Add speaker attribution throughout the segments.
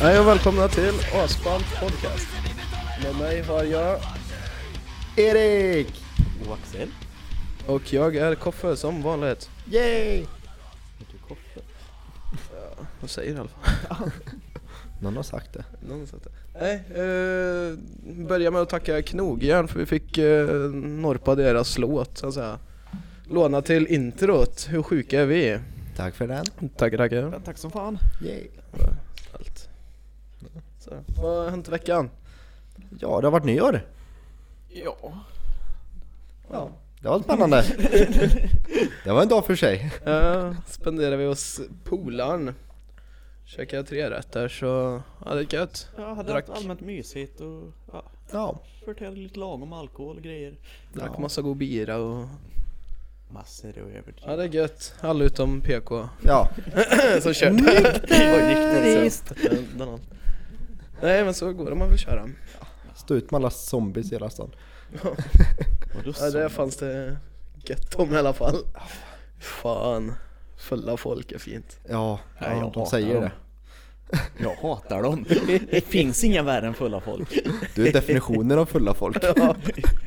Speaker 1: Hej och välkomna till Asfalt Podcast. Med mig har jag
Speaker 2: Erik!
Speaker 3: Och Axel?
Speaker 1: och jag är Koffe som vanligt.
Speaker 2: Yay!
Speaker 3: Heter du Koffe?
Speaker 1: Vad säger i alla fall?
Speaker 2: Någon har sagt det.
Speaker 1: Någon sa det. Nej, eh, börja med att tacka Knogjärn för vi fick eh, norpa deras låt så att säga. Låna till introt, hur sjuka är vi?
Speaker 2: Tack för den.
Speaker 1: Tackar, tackar.
Speaker 3: Ja, tack som fan!
Speaker 2: Yay!
Speaker 1: Allt. Så, vad har hänt i veckan?
Speaker 2: Ja, det har varit nyår.
Speaker 3: Ja.
Speaker 2: Ja, det var spännande. det var en dag för sig.
Speaker 1: Ja, spenderade vi hos polaren. Käkade tre rätter så, ja det är gött.
Speaker 3: Jag hade
Speaker 1: Drack.
Speaker 3: haft allmänt mysigt och ja,
Speaker 2: Ja,
Speaker 3: förtärde lite lagom alkohol och grejer.
Speaker 1: Drack
Speaker 2: Ja.
Speaker 1: massa god bira och,
Speaker 3: Massor och
Speaker 1: ja
Speaker 3: överdrivet.
Speaker 1: det är gött. Alla utom PK
Speaker 2: ja.
Speaker 1: som körde.
Speaker 2: Nykterist!
Speaker 1: Nej men så går det om man vill köra.
Speaker 2: Stå ut med alla zombies i hela stan.
Speaker 3: Vadå
Speaker 1: Ja, det
Speaker 3: så?
Speaker 1: fanns det gött om i alla fall. Fan, fulla folk är fint.
Speaker 2: Ja,
Speaker 3: Nej, jag
Speaker 2: ja de
Speaker 3: hatar
Speaker 2: säger
Speaker 3: dem.
Speaker 2: det.
Speaker 3: Jag hatar dem! Det finns inga värre än fulla folk.
Speaker 2: Du är definitionen av fulla folk.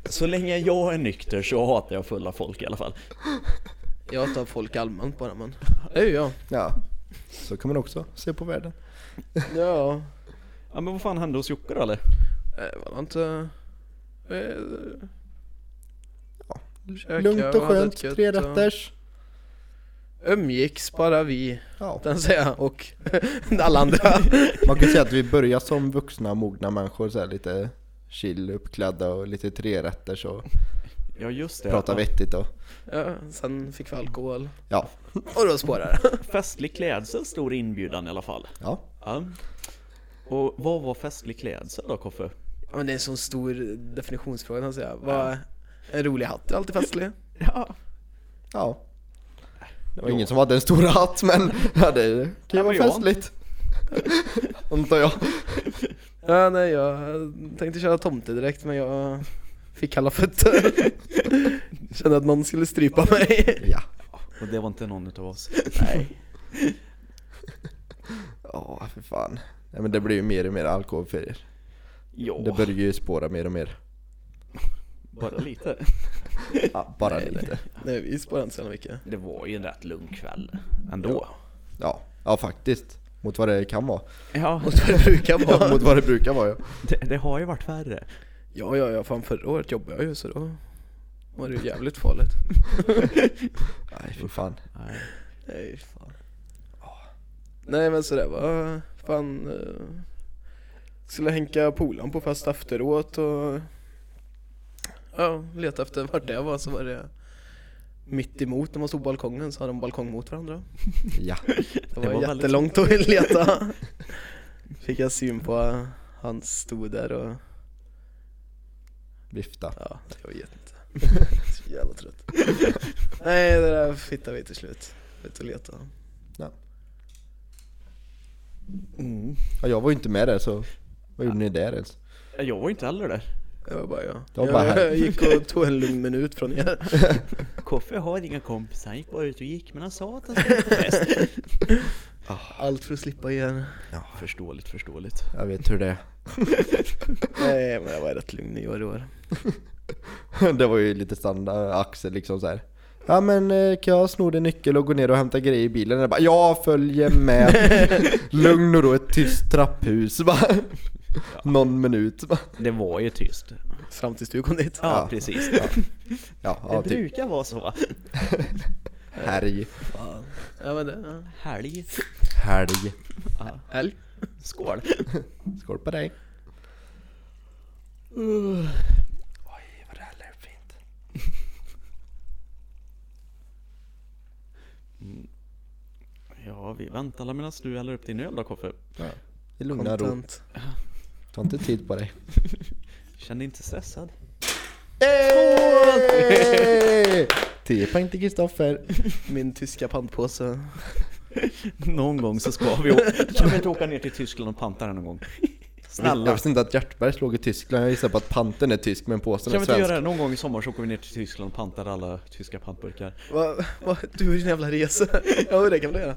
Speaker 3: Så länge jag är nykter så hatar jag fulla folk i alla fall.
Speaker 1: Jag tar folk allmänt bara men, det är ju jag.
Speaker 2: Ja, så kan man också se på världen.
Speaker 1: Ja,
Speaker 3: Ja men vad fan hände hos Jocke då eller?
Speaker 1: det var inte... eh, käka
Speaker 2: Lugnt och
Speaker 1: hade
Speaker 2: skönt,
Speaker 1: ett gött
Speaker 2: tre
Speaker 1: och-
Speaker 2: rätters.
Speaker 1: Umgicks bara vi,
Speaker 2: Ja.
Speaker 1: den säger jag, och alla andra.
Speaker 2: Man kan säga att vi börjar som vuxna, mogna människor, så här lite chill, uppklädda och lite trerätters och
Speaker 3: Ja just det.
Speaker 2: prata
Speaker 3: Ja,
Speaker 2: vettigt och
Speaker 1: Ja, sen fick vi alkohol.
Speaker 2: ja,
Speaker 1: Och då spårade det.
Speaker 3: Festlig klädsel stor inbjudan i alla fall.
Speaker 2: ja.
Speaker 3: Ja. Och vad var festlig klädsel då Koffe?
Speaker 1: Ja, Men det är en sån stor definitionsfråga kan säga. Vad, en rolig hatt är alltid festlig.
Speaker 3: Ja,
Speaker 2: Ja. Det var ingen som hade en stor hatt men ja, det kan ju
Speaker 3: Ja, men
Speaker 2: vara
Speaker 3: jag.
Speaker 2: festligt. Antar jag.
Speaker 1: Ja, nej, jag tänkte köra tomte direkt men jag fick kalla fötter. Kände att någon skulle strypa mig.
Speaker 2: Ja.
Speaker 3: Och det var inte någon utav oss.
Speaker 1: Nej.
Speaker 2: Ja, för fan. Nej, men det blir ju mer och mer alkohol för er.
Speaker 3: Ja,
Speaker 2: Det börjar ju spåra mer och mer.
Speaker 3: bara lite.
Speaker 2: Ja, bara
Speaker 1: Nej,
Speaker 2: lite.
Speaker 1: Nej, vi spårade inte så jävla mycket.
Speaker 3: Det var ju en rätt lugn kväll ändå.
Speaker 2: Ja. ja, faktiskt. Mot vad det kan vara.
Speaker 3: Ja,
Speaker 1: Mot vad det brukar
Speaker 2: Ja,
Speaker 1: vara.
Speaker 2: mot vad det brukar vara ja.
Speaker 3: det, det har ju varit värre.
Speaker 1: Ja, ja, ja, fan förra året jobbade jag ju så då var det ju jävligt farligt.
Speaker 2: Nej, för fan.
Speaker 3: Nej.
Speaker 1: Nej, fan. Nej men så det var, fan eh, Skulle hänka polaren på fest efteråt och Ja, leta efter vart det var så var det Mitt emot när man stod på balkongen så hade de balkong mot varandra
Speaker 2: Ja.
Speaker 1: Det var,
Speaker 3: Det var väldigt-
Speaker 1: jättelångt att leta Fick jag syn på, han stod där och
Speaker 2: Vifta.
Speaker 1: ja, jag vet inte Så jävla trött Nej det där hittade vi till slut, ut och leta
Speaker 3: Mm.
Speaker 2: Ja, jag var ju inte med där så vad gjorde ni där ens?
Speaker 3: Jag var ju inte heller där.
Speaker 1: Det var bara jag.
Speaker 2: Det var bara
Speaker 1: jag
Speaker 2: här.
Speaker 1: gick och tog en lugn minut från er.
Speaker 3: Koffe har inga kompisar, han gick bara ut och gick men han sa att han skulle på fest.
Speaker 1: Allt för att slippa er.
Speaker 3: förståeligt, förståeligt.
Speaker 2: Jag vet hur det är.
Speaker 1: Nej men jag var rätt lugn i år i år.
Speaker 2: Det var ju lite standard Axel liksom så här. Ja men eh, kan jag sno din nyckel och gå ner och hämta grejer i bilen? Jag bara, jag följer med! Lugn och ro, ett tyst trapphus bara. Någon minut bara.
Speaker 3: Det var ju tyst. Ja,
Speaker 1: Fram tills du kom dit.
Speaker 2: Ja.
Speaker 3: precis. Ja.
Speaker 2: Ja,
Speaker 3: Det
Speaker 2: ja typ
Speaker 3: brukar vara så.
Speaker 2: helg,
Speaker 1: Ja men det,
Speaker 3: Helg.
Speaker 2: helg.
Speaker 1: helg.
Speaker 3: Skål.
Speaker 2: Skål på dig!
Speaker 1: Oj vad det här lät fint.
Speaker 3: Ja, vi väntar alla medan du häller upp din öl då Koffe.
Speaker 2: I lugn och ro,
Speaker 1: Content.
Speaker 2: ta inte tid på dig.
Speaker 3: Känn dig inte stressad.
Speaker 2: Hey! 10 poäng till Kristoffer.
Speaker 1: Min tyska pantpåse.
Speaker 3: Någon gång så ska vi åka. Kan vi inte åka ner till Tyskland och panta den någon gång?
Speaker 2: Jag
Speaker 3: Snälla.
Speaker 2: visste inte att Hjärtberg slog i Tyskland, jag gissar på att panten är tysk men påsen
Speaker 3: Kan vi
Speaker 2: är
Speaker 3: inte göra
Speaker 2: svensk.
Speaker 3: det någon gång i sommar så åker vi ner till Tyskland och pantar alla tyska pantburkar?
Speaker 1: Va, va, du och din jävla resa. Ja det kan vi göra.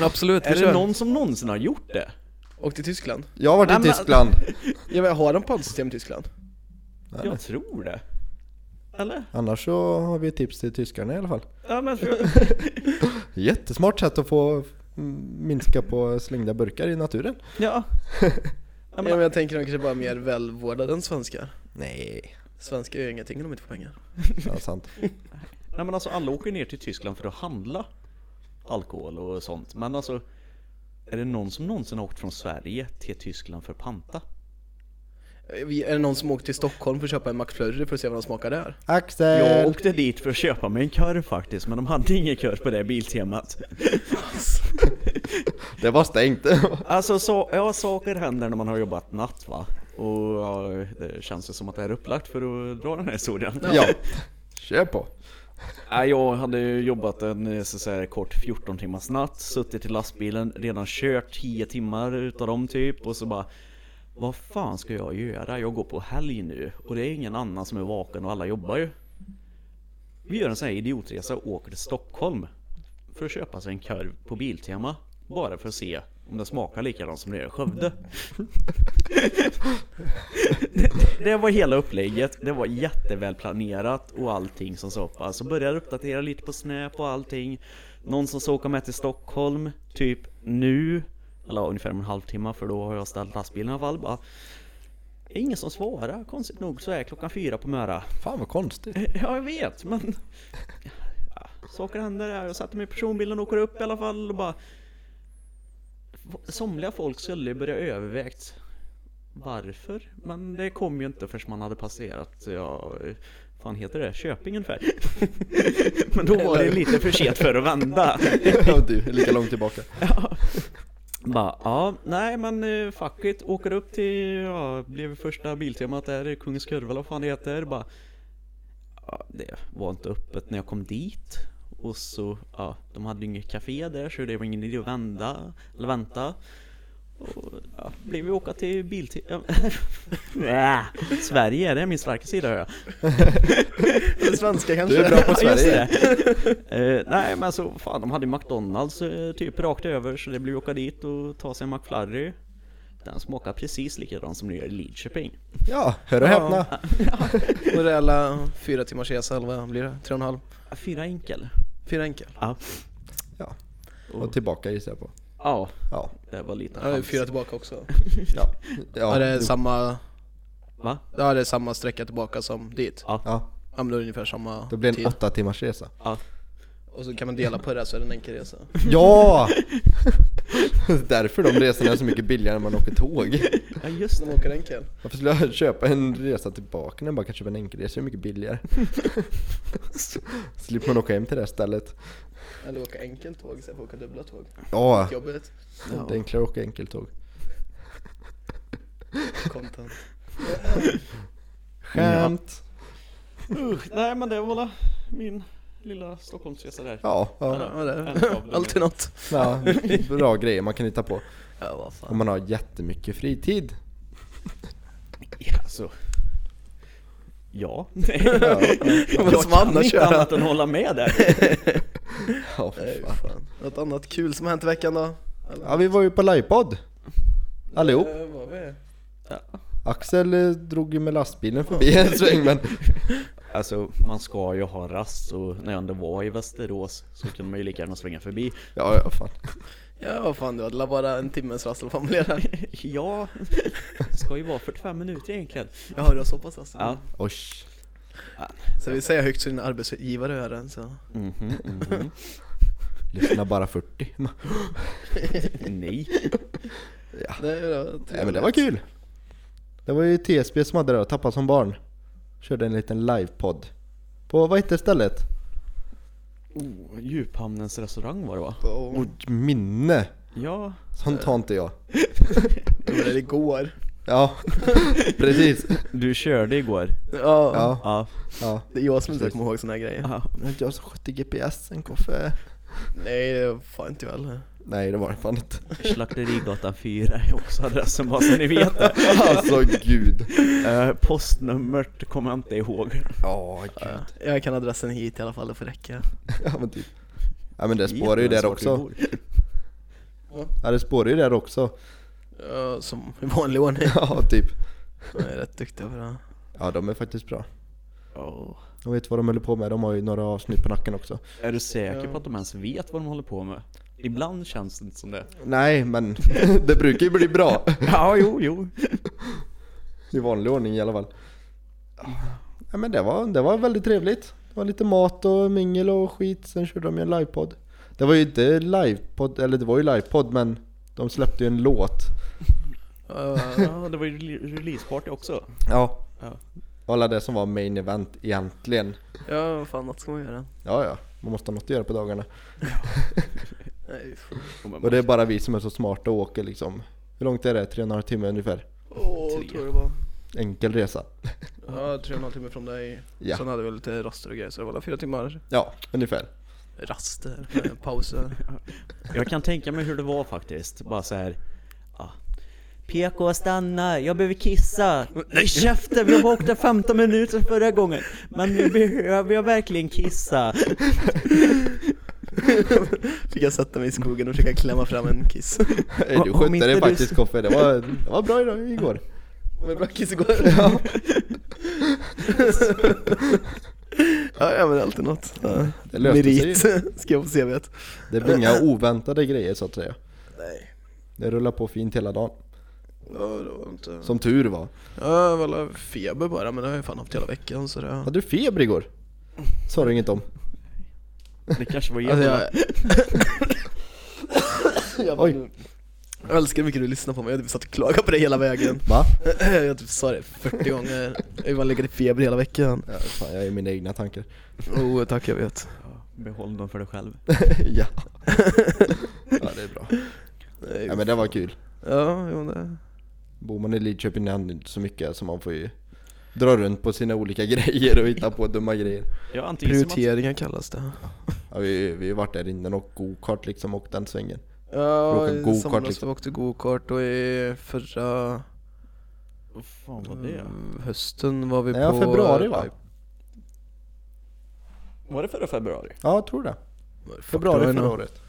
Speaker 1: Absolut,
Speaker 3: Är det någon som någonsin har gjort det?
Speaker 1: Åk till Tyskland.
Speaker 2: Jag har varit
Speaker 3: Nej,
Speaker 2: i
Speaker 3: men-
Speaker 2: Tyskland.
Speaker 1: Ja, men har de poddsystem i Tyskland?
Speaker 2: Nej.
Speaker 3: Jag tror det. Eller?
Speaker 2: Annars så har vi ett tips till tyskarna i alla fall.
Speaker 3: Ja, men
Speaker 2: Jättesmart sätt att få mm, minska på slängda burkar i naturen.
Speaker 3: ja. Ja,
Speaker 1: Ja,
Speaker 3: men-
Speaker 1: men jag tänker de kanske bara är mer välvårdade än svenskar.
Speaker 2: Nej,
Speaker 1: Svenskar gör ingenting om de inte får pengar.
Speaker 2: ja, sant.
Speaker 3: Nej men alltså alla åker ner till Tyskland för att handla alkohol och sånt. Men alltså, är det någon som någonsin har åkt från Sverige till Tyskland för att panta?
Speaker 1: Eh, vi- Är det någon som åkt till Stockholm för att köpa en McFlurry för att se vad de smakar där?
Speaker 3: Jag
Speaker 2: Axel!
Speaker 3: åkte dit för att köpa mig en korv faktiskt, men de hade ingen korv på det biltemat.
Speaker 2: Det var stängt.
Speaker 3: Alltså så, ja, saker händer när man har jobbat natt va? Och ja, det känns ju som att det är upplagt för att dra den här historien.
Speaker 2: ja, kör på.
Speaker 3: Nej, jag hade ju jobbat en eh, så att säga, kort 14 timmars natt, suttit i lastbilen, redan kört 10 timmar utav dem typ och så bara Vad fan ska jag göra? Jag går på helg nu och det är ingen annan som är vaken och alla jobbar ju. Vi gör en sån här idiotresa och åker till Stockholm för att köpa sig en korv på Biltema. Bara för att se om den smakar likadant som det gör i Skövde. Det var hela upplägget, det var jätteväl planerat och allting som så. Alltså började uppdatera lite på Snap och allting. Någon som ska åka med till Stockholm, typ nu, eller ja, ungefär om en halvtimme för då har jag ställt lastbilen i alla fall. Bara, "Det är ingen som svarar, konstigt nog så är klockan fyra på Möra.
Speaker 2: Fan vad konstigt.
Speaker 3: Ja, jag vet, men... Ja, saker händer. här. Jag satte mig i personbilen och åker upp i alla fall och bara... Somliga folk skulle börja övervägt varför, men det kom ju inte förrän man hade passerat, ja... fan heter det? Köping ungefär. men då var det lite för sent för att vända.
Speaker 2: Ja, du är lika långt tillbaka.
Speaker 3: Ja. Bara, ja, nej men eh, fuck it, åker upp till, ja, blev första biltemat där, Kungens Kurva eller vad fan det heter. Bara, ja, det var inte öppet när jag kom dit. Och så, ja, de hade ju inget café där så det var ingen idé att vända, eller vänta. Och, ja, blev vi åka till biltemat. Sverige, det är min starka sida hör jag.
Speaker 1: Eller svenskar kanske?
Speaker 2: Du är bra på
Speaker 3: Ja, just
Speaker 2: Sverige.
Speaker 3: det. Eh, nej men så fan, de hade ju McDonalds eh, typ rakt över så det blev åka dit och ta sig en McFlurry. Den smakar precis likadant som det gör i Lidköping.
Speaker 2: Ja, hör och häpna.
Speaker 1: Och det är alla fyra timmars resa, eller vad blir det? Tre och en halv?
Speaker 3: Fyra enkel.
Speaker 1: Fyra enkel?
Speaker 3: Ja.
Speaker 2: Ja. Och tillbaka gissar jag på.
Speaker 3: Ja,
Speaker 2: Ja.
Speaker 3: det var lite
Speaker 1: Ja, det är
Speaker 3: chans.
Speaker 1: fyra tillbaka också.
Speaker 2: Ja.
Speaker 1: Ja, det är
Speaker 2: jo.
Speaker 1: samma,
Speaker 3: Va?
Speaker 1: ja, det är samma sträcka tillbaka som dit.
Speaker 2: Ja,
Speaker 1: Ja men då är det ungefär samma
Speaker 2: det blir en
Speaker 1: tid.
Speaker 2: åtta timmars resa.
Speaker 3: Ja.
Speaker 1: Och så kan man dela på det så är det en enkel resa.
Speaker 2: Ja! Därför de resorna är så mycket billigare när man åker tåg.
Speaker 3: ja, just
Speaker 1: De
Speaker 3: det.
Speaker 1: åker enkel.
Speaker 2: Varför skulle jag köpa en resa tillbaka när jag bara kan köpa en enkelresa? Det är mycket billigare. Slipper man åka hem till det här stället.
Speaker 1: Eller åka enkelt tåg istället för att åka dubbla tåg.
Speaker 2: Ja,
Speaker 1: Jobbigt.
Speaker 2: det är enklare att åka enkeltåg.
Speaker 1: Content.
Speaker 2: Skämt!
Speaker 3: Usch, nej men det var väl min lilla Stockholmsresa där.
Speaker 2: Ja, ja,
Speaker 1: Ja, det är.
Speaker 3: En av dem.
Speaker 1: Alltid något.
Speaker 2: ja, bra grejer man kan hitta på.
Speaker 1: Ja vad
Speaker 2: Om
Speaker 1: fan.
Speaker 2: man har jättemycket fritid.
Speaker 3: Ja, så. Ja.
Speaker 2: Ja,
Speaker 1: Vad ska man
Speaker 3: jag kan
Speaker 1: annars
Speaker 3: inte
Speaker 1: göra?
Speaker 3: annat än hålla med där.
Speaker 2: ja, för
Speaker 1: Nej,
Speaker 2: fan.
Speaker 1: fan. Något annat kul som har hänt i veckan då?
Speaker 2: ja vi var ju på livepodd. Allihop.
Speaker 1: Eh, var vi?
Speaker 2: Axel eh, drog ju med lastbilen förbi en sväng men
Speaker 3: Alltså man ska ju ha rast och när jag ändå var i Västerås så kunde man ju lika gärna svänga förbi.
Speaker 2: ja, ja fan.
Speaker 1: Ja vad fan du hade la bara en timmes rassel fram där.
Speaker 3: Ja, det ska ju vara 45 minuter egentligen.
Speaker 1: Ja du har så pass alltså. rassel?
Speaker 3: Ja.
Speaker 2: Oj.
Speaker 1: Så vi säger högt så dina arbetsgivare hör den så.
Speaker 3: Mhm, mhm.
Speaker 2: Lyssna bara 40.
Speaker 3: Nej.
Speaker 1: Det, är då
Speaker 2: Nej Ah. men det var kul! Det var ju TSB som hade det då, Tappa som barn. Körde en liten livepodd. På, vad hette stället?
Speaker 3: Oh, djuphamnens restaurang var det va?
Speaker 1: Oh,
Speaker 2: Oj, minne!
Speaker 3: Ja.
Speaker 2: Sånt har inte jag.
Speaker 1: det
Speaker 2: Mm.
Speaker 1: var det igår.
Speaker 2: Ja, precis.
Speaker 3: Du körde igår?
Speaker 1: Ja,
Speaker 2: Ja,
Speaker 3: Ja.
Speaker 2: ja.
Speaker 1: Det är jag som inte kommer ihåg såna här grejer.
Speaker 3: ja.
Speaker 2: Men Jag som skötte GPSen, Koffe.
Speaker 1: Nej det var fan inte jag heller.
Speaker 2: Nej det var det fan inte.
Speaker 3: Slakterigatan 4 är också adressen bara så ni vet det.
Speaker 2: Alltså gud.
Speaker 3: Eh, postnumret kommer jag inte ihåg.
Speaker 2: Ja, gud.
Speaker 1: Jag kan adressen hit i alla fall, det får räcka.
Speaker 2: Ja men typ. Ja men det
Speaker 3: Vet
Speaker 2: spårar ju
Speaker 3: du ens
Speaker 2: där
Speaker 3: vart du
Speaker 2: också.
Speaker 3: bor?
Speaker 2: Ja det spårar ju där också.
Speaker 1: Ja, som i vanlig ordning.
Speaker 2: Ja, typ.
Speaker 1: De är rätt duktiga på det.
Speaker 2: Ja, de är faktiskt bra.
Speaker 3: Ja.
Speaker 2: De vet vad de håller på med, de har ju några avsnitt på nacken också.
Speaker 3: Är du säker
Speaker 1: Ja.
Speaker 3: på att de ens vet vad de håller på med? Ibland känns det inte som det.
Speaker 2: Nej, men det brukar ju bli bra.
Speaker 3: Ja, jo, jo.
Speaker 2: I vanlig ordning i alla fall. Ja, men det var, det var väldigt trevligt. Det var lite mat och mingel och skit, sen körde de ju en livepodd. Det var ju inte livepodd, eller det var ju livepodd men de släppte ju en låt.
Speaker 1: Ja,
Speaker 3: Ja, det var ju rele- releaseparty också.
Speaker 2: Ja.
Speaker 3: Ja.
Speaker 2: Och alla det som var main event egentligen.
Speaker 1: ja, vad fan något ska man göra.
Speaker 2: Ja, ja. Man måste ha något att göra på dagarna.
Speaker 1: Nej, fy fan.
Speaker 2: Och det är bara vi som är så smarta och åker liksom. Hur långt är det? Tre och en halv timme ungefär.
Speaker 1: Åh,
Speaker 3: Tre.
Speaker 1: tror jag det var.
Speaker 2: Enkel resa.
Speaker 1: Ja, tre och en halv timme från dig.
Speaker 2: Ja.
Speaker 1: Sen hade vi lite raster och grejer, så det var alla fyra timmar
Speaker 2: Ja, ungefär.
Speaker 1: raster, eh, pauser.
Speaker 3: Jag kan tänka mig hur det var faktiskt. Bara så här. Ja. PK stanna, jag behöver kissa. Nej käften, jag åkte 15 minuter förra gången. Men nu behöver jag verkligen kissa.
Speaker 1: Fick jag sätta mig i skogen och försöka klämma fram en kiss.
Speaker 2: Eh, Du
Speaker 3: Om
Speaker 2: skötte
Speaker 3: inte du-
Speaker 2: dig faktiskt Koffe, det var, det var bra idag, igår.
Speaker 1: Med bra kiss igår. Ja. ja, ja, men alltid något. Ja.
Speaker 2: Det löste
Speaker 1: Merit
Speaker 2: sig.
Speaker 1: ska jag på CVt.
Speaker 2: Det blir inga oväntade grejer så att säga.
Speaker 1: Nej.
Speaker 2: Det rullar på fint hela dagen.
Speaker 1: Ja, det var inte...
Speaker 2: Som tur var.
Speaker 1: Ja, jag var feber bara, men det har jag fan haft hela veckan så det...
Speaker 2: Hade du feber igår? Sa du inget om?
Speaker 3: Det kanske var
Speaker 1: Alltså
Speaker 3: jävla...
Speaker 1: jag... jag,
Speaker 2: Oj.
Speaker 1: Oj. jag älskar hur mycket du lyssnar på mig, jag typ satt och klagade på dig hela vägen
Speaker 2: Va?
Speaker 1: Jag typ sa det 40 gånger, jag har bara legat i feber hela veckan
Speaker 2: Ja, fan, jag är i mina egna tankar.
Speaker 1: Oh tack jag vet
Speaker 3: Behåll dem för dig själv.
Speaker 2: ja. ja, det är bra.
Speaker 1: Nej,
Speaker 2: Ja, men det var kul.
Speaker 1: Ja, jo det...
Speaker 2: Bor man i Lidköping händer inte så mycket så man får ju dra runt på sina olika grejer och hitta på dumma grejer.
Speaker 3: Jag har antingen som att...
Speaker 1: Prioriteringar kallas det
Speaker 2: Ja, vi, vi har varit där innan och gokart liksom och den svängen.
Speaker 1: Ja,
Speaker 2: Åka
Speaker 1: i
Speaker 2: go-kart,
Speaker 1: somras
Speaker 2: liksom.
Speaker 1: vi åkte gokart och i förra
Speaker 3: Vad fan var det?
Speaker 1: mm, hösten var vi
Speaker 2: Nej, ja,
Speaker 1: på...
Speaker 2: februari va?
Speaker 3: Var det förra februari?
Speaker 2: Ja, jag tror det.
Speaker 1: Februari
Speaker 2: Februari
Speaker 1: nu.
Speaker 2: förra året.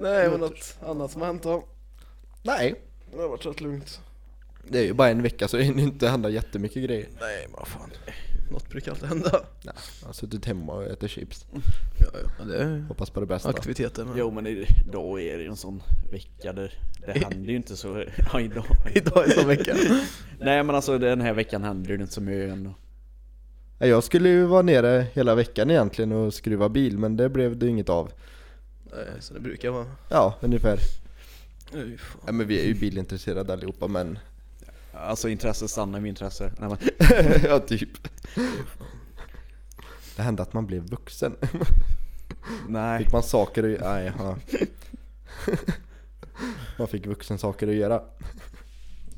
Speaker 1: Nej men något annat som har hänt då
Speaker 2: Nej,
Speaker 1: Det har varit rätt lugnt
Speaker 2: det är ju bara en vecka så det hinner inte hända jättemycket grejer.
Speaker 1: Nej men vad fan, något brukar alltid hända
Speaker 2: Nej, jag har suttit hemma och ätit chips.
Speaker 1: Ja, ja. Men det är
Speaker 2: Hoppas på det bästa.
Speaker 1: aktiviteter men
Speaker 3: Jo men i- idag är det ju en sån vecka där det
Speaker 1: I-
Speaker 3: händer ju inte så... Ja, idag.
Speaker 1: Idag är sån vecka
Speaker 3: Nej men alltså den här veckan händer det inte så mycket än.
Speaker 2: Nej, Jag skulle ju vara nere hela veckan egentligen och skruva bil men det blev det ju inget av.
Speaker 1: Nej, så det brukar vara
Speaker 2: Ja, ungefär.
Speaker 1: Oj, fan.
Speaker 2: Ja, men vi är ju bilintresserade allihopa men...
Speaker 3: Alltså intresse stannar vid intresse. Nej, men...
Speaker 2: ja, typ. Det hände att man blev vuxen.
Speaker 3: Nej.
Speaker 2: Fick man saker att göra? Nej, ja. Man fick vuxen saker att göra.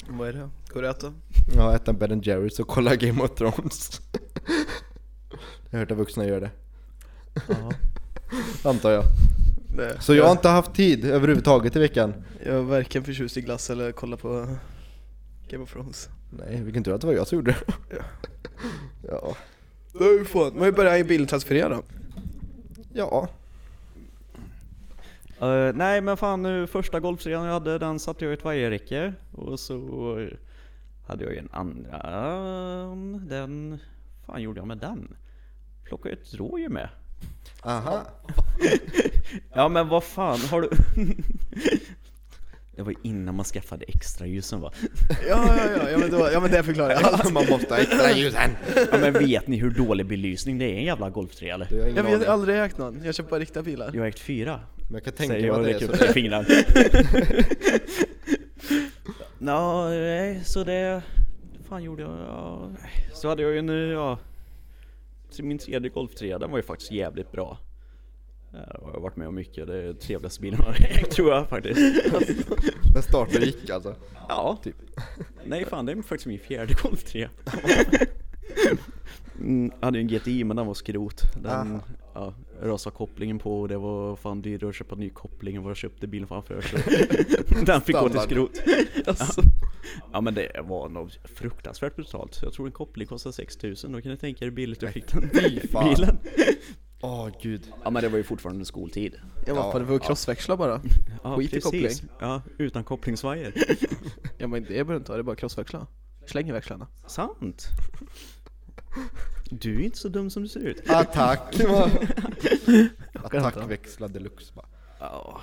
Speaker 1: Vad är det? Går det att äta?
Speaker 2: Ja, äta en Ben Jerrys och kolla Game of Thrones. Jag har hört att vuxna gör det,
Speaker 3: Ja.
Speaker 2: antar jag.
Speaker 1: Nej.
Speaker 2: Så jag har inte haft tid överhuvudtaget i veckan.
Speaker 1: Jag är varken förtjust i glass eller kolla på Game of Thrones
Speaker 2: Nej, vilken tur att det var jag som gjorde det.
Speaker 1: Ja.
Speaker 2: Ja.
Speaker 1: Du fan, men hur börjar jag i biltransferera då?
Speaker 2: Ja.
Speaker 3: Eh, nej men fan eh, första golfrean jag hade den satte jag i ett vajerräcke. Och så eh, hade jag ju en andra. Mm, Den... fan gjorde jag med den? Plockade ett rådjur med.
Speaker 2: Aha.
Speaker 3: Ja men vad fan har du... Det var ju innan man skaffade extra ljusen va?
Speaker 1: Ja, ja, ja, ja men, då, ja, men det förklarar jag allt
Speaker 2: Man måste ha extra ljusen.
Speaker 3: Ja men vet ni hur dålig belysning det är i en jävla golftrea eller?
Speaker 2: Jag har
Speaker 1: Jag
Speaker 2: ingen
Speaker 1: vet jag har
Speaker 2: aning.
Speaker 1: aldrig ägt någon, jag köper bara riktiga bilar
Speaker 3: Jag har ägt fyra.
Speaker 2: Men jag kan
Speaker 3: Säger
Speaker 2: tänka
Speaker 3: jag
Speaker 2: mig att
Speaker 3: och
Speaker 2: det är
Speaker 3: räcker
Speaker 2: så.
Speaker 3: upp med fingrarna. Nå, nej, så det... fan gjorde jag? Ja. Så hade jag ju nu, ja... till Min tredje golftrea, den var ju faktiskt jävligt bra. Jag har jag varit med om mycket, det är den trevligaste bilen jag har ägt tror jag faktiskt.
Speaker 2: Den startade gick alltså.
Speaker 3: Ja, typ. Nej fan, det är faktiskt min fjärde golftrea. Mm, jag hade ju en GTI men den var skrot. Den
Speaker 2: Aha.
Speaker 3: ja, rasade kopplingen på och det var fan dyrare att köpa ny koppling än vad jag köpte bilen framför. Så den fick gå till
Speaker 2: Standard.
Speaker 3: skrot. Alltså. Ja men det var nog fruktansvärt brutalt. Jag tror en koppling kostar 6000, då kan ni tänka er hur billigt jag fick den
Speaker 2: fy fan.
Speaker 3: bilen.
Speaker 2: Åh gud.
Speaker 3: Ja men det var ju fortfarande skoltid.
Speaker 1: Ja, vad fan, det var ju crossväxla bara.
Speaker 3: Ja,
Speaker 1: Skit i
Speaker 3: precis. Ja, utan kopplingsvajer.
Speaker 1: Ja men det behöver du inte ha, det är bara crossväxla. Släng i växlarna.
Speaker 3: Sant. Du är inte så dum som du ser ut.
Speaker 2: Ah, Attack! Attack växla deluxe bara.
Speaker 3: Ja.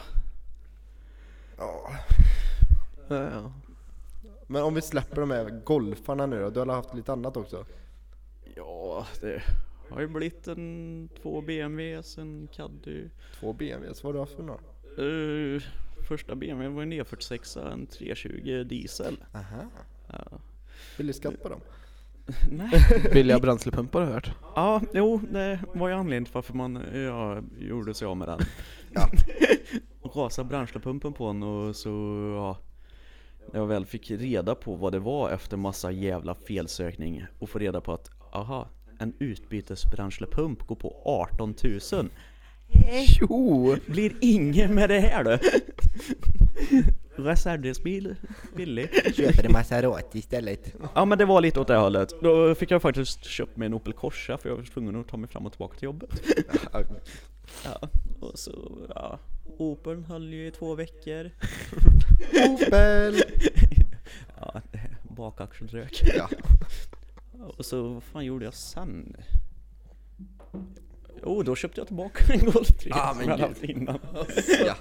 Speaker 1: Ja, ja.
Speaker 2: Men om vi släpper de här golfarna nu då? Du har haft lite annat också?
Speaker 3: Ja, det har ju blivit en två BMWs, en Caddy.
Speaker 2: Två BMWs, vad har du haft för några?
Speaker 3: Eh, första BMWn var en E46, en 320 diesel.
Speaker 2: Aha.
Speaker 3: Ja.
Speaker 2: Vill du skatt på dem?
Speaker 3: Nej.
Speaker 1: Billiga bränslepumpar har jag hört.
Speaker 3: Ja, jo, det var ju anledningen till varför man eh, ja, gjorde sig av med den.
Speaker 2: Ja.
Speaker 3: Rasade bränslepumpen på den och så, ja. När jag väl fick reda på vad det var efter massa jävla felsökning och få reda på att, aha, en utbytesbränslepump går på 18 000.
Speaker 1: Jo!
Speaker 3: Blir ingen med det här du! Reservdelsbil, billig.
Speaker 2: Köper en Maserati istället.
Speaker 3: Ja men det var lite åt det hållet. Då fick jag faktiskt köpt mig en Opel Corsa för jag var tvungen att ta mig fram och tillbaka till jobbet. Ja, och så, ja. Opeln höll ju i två veckor.
Speaker 2: Opel!
Speaker 3: Ja, bakaxeln rök.
Speaker 2: Ja.
Speaker 3: Och så, vad fan gjorde jag sen? Jo, då köpte jag tillbaka en Golf 3
Speaker 2: Ah,
Speaker 3: som
Speaker 2: men
Speaker 3: jag hade
Speaker 2: gud.
Speaker 3: haft innan.
Speaker 2: ja.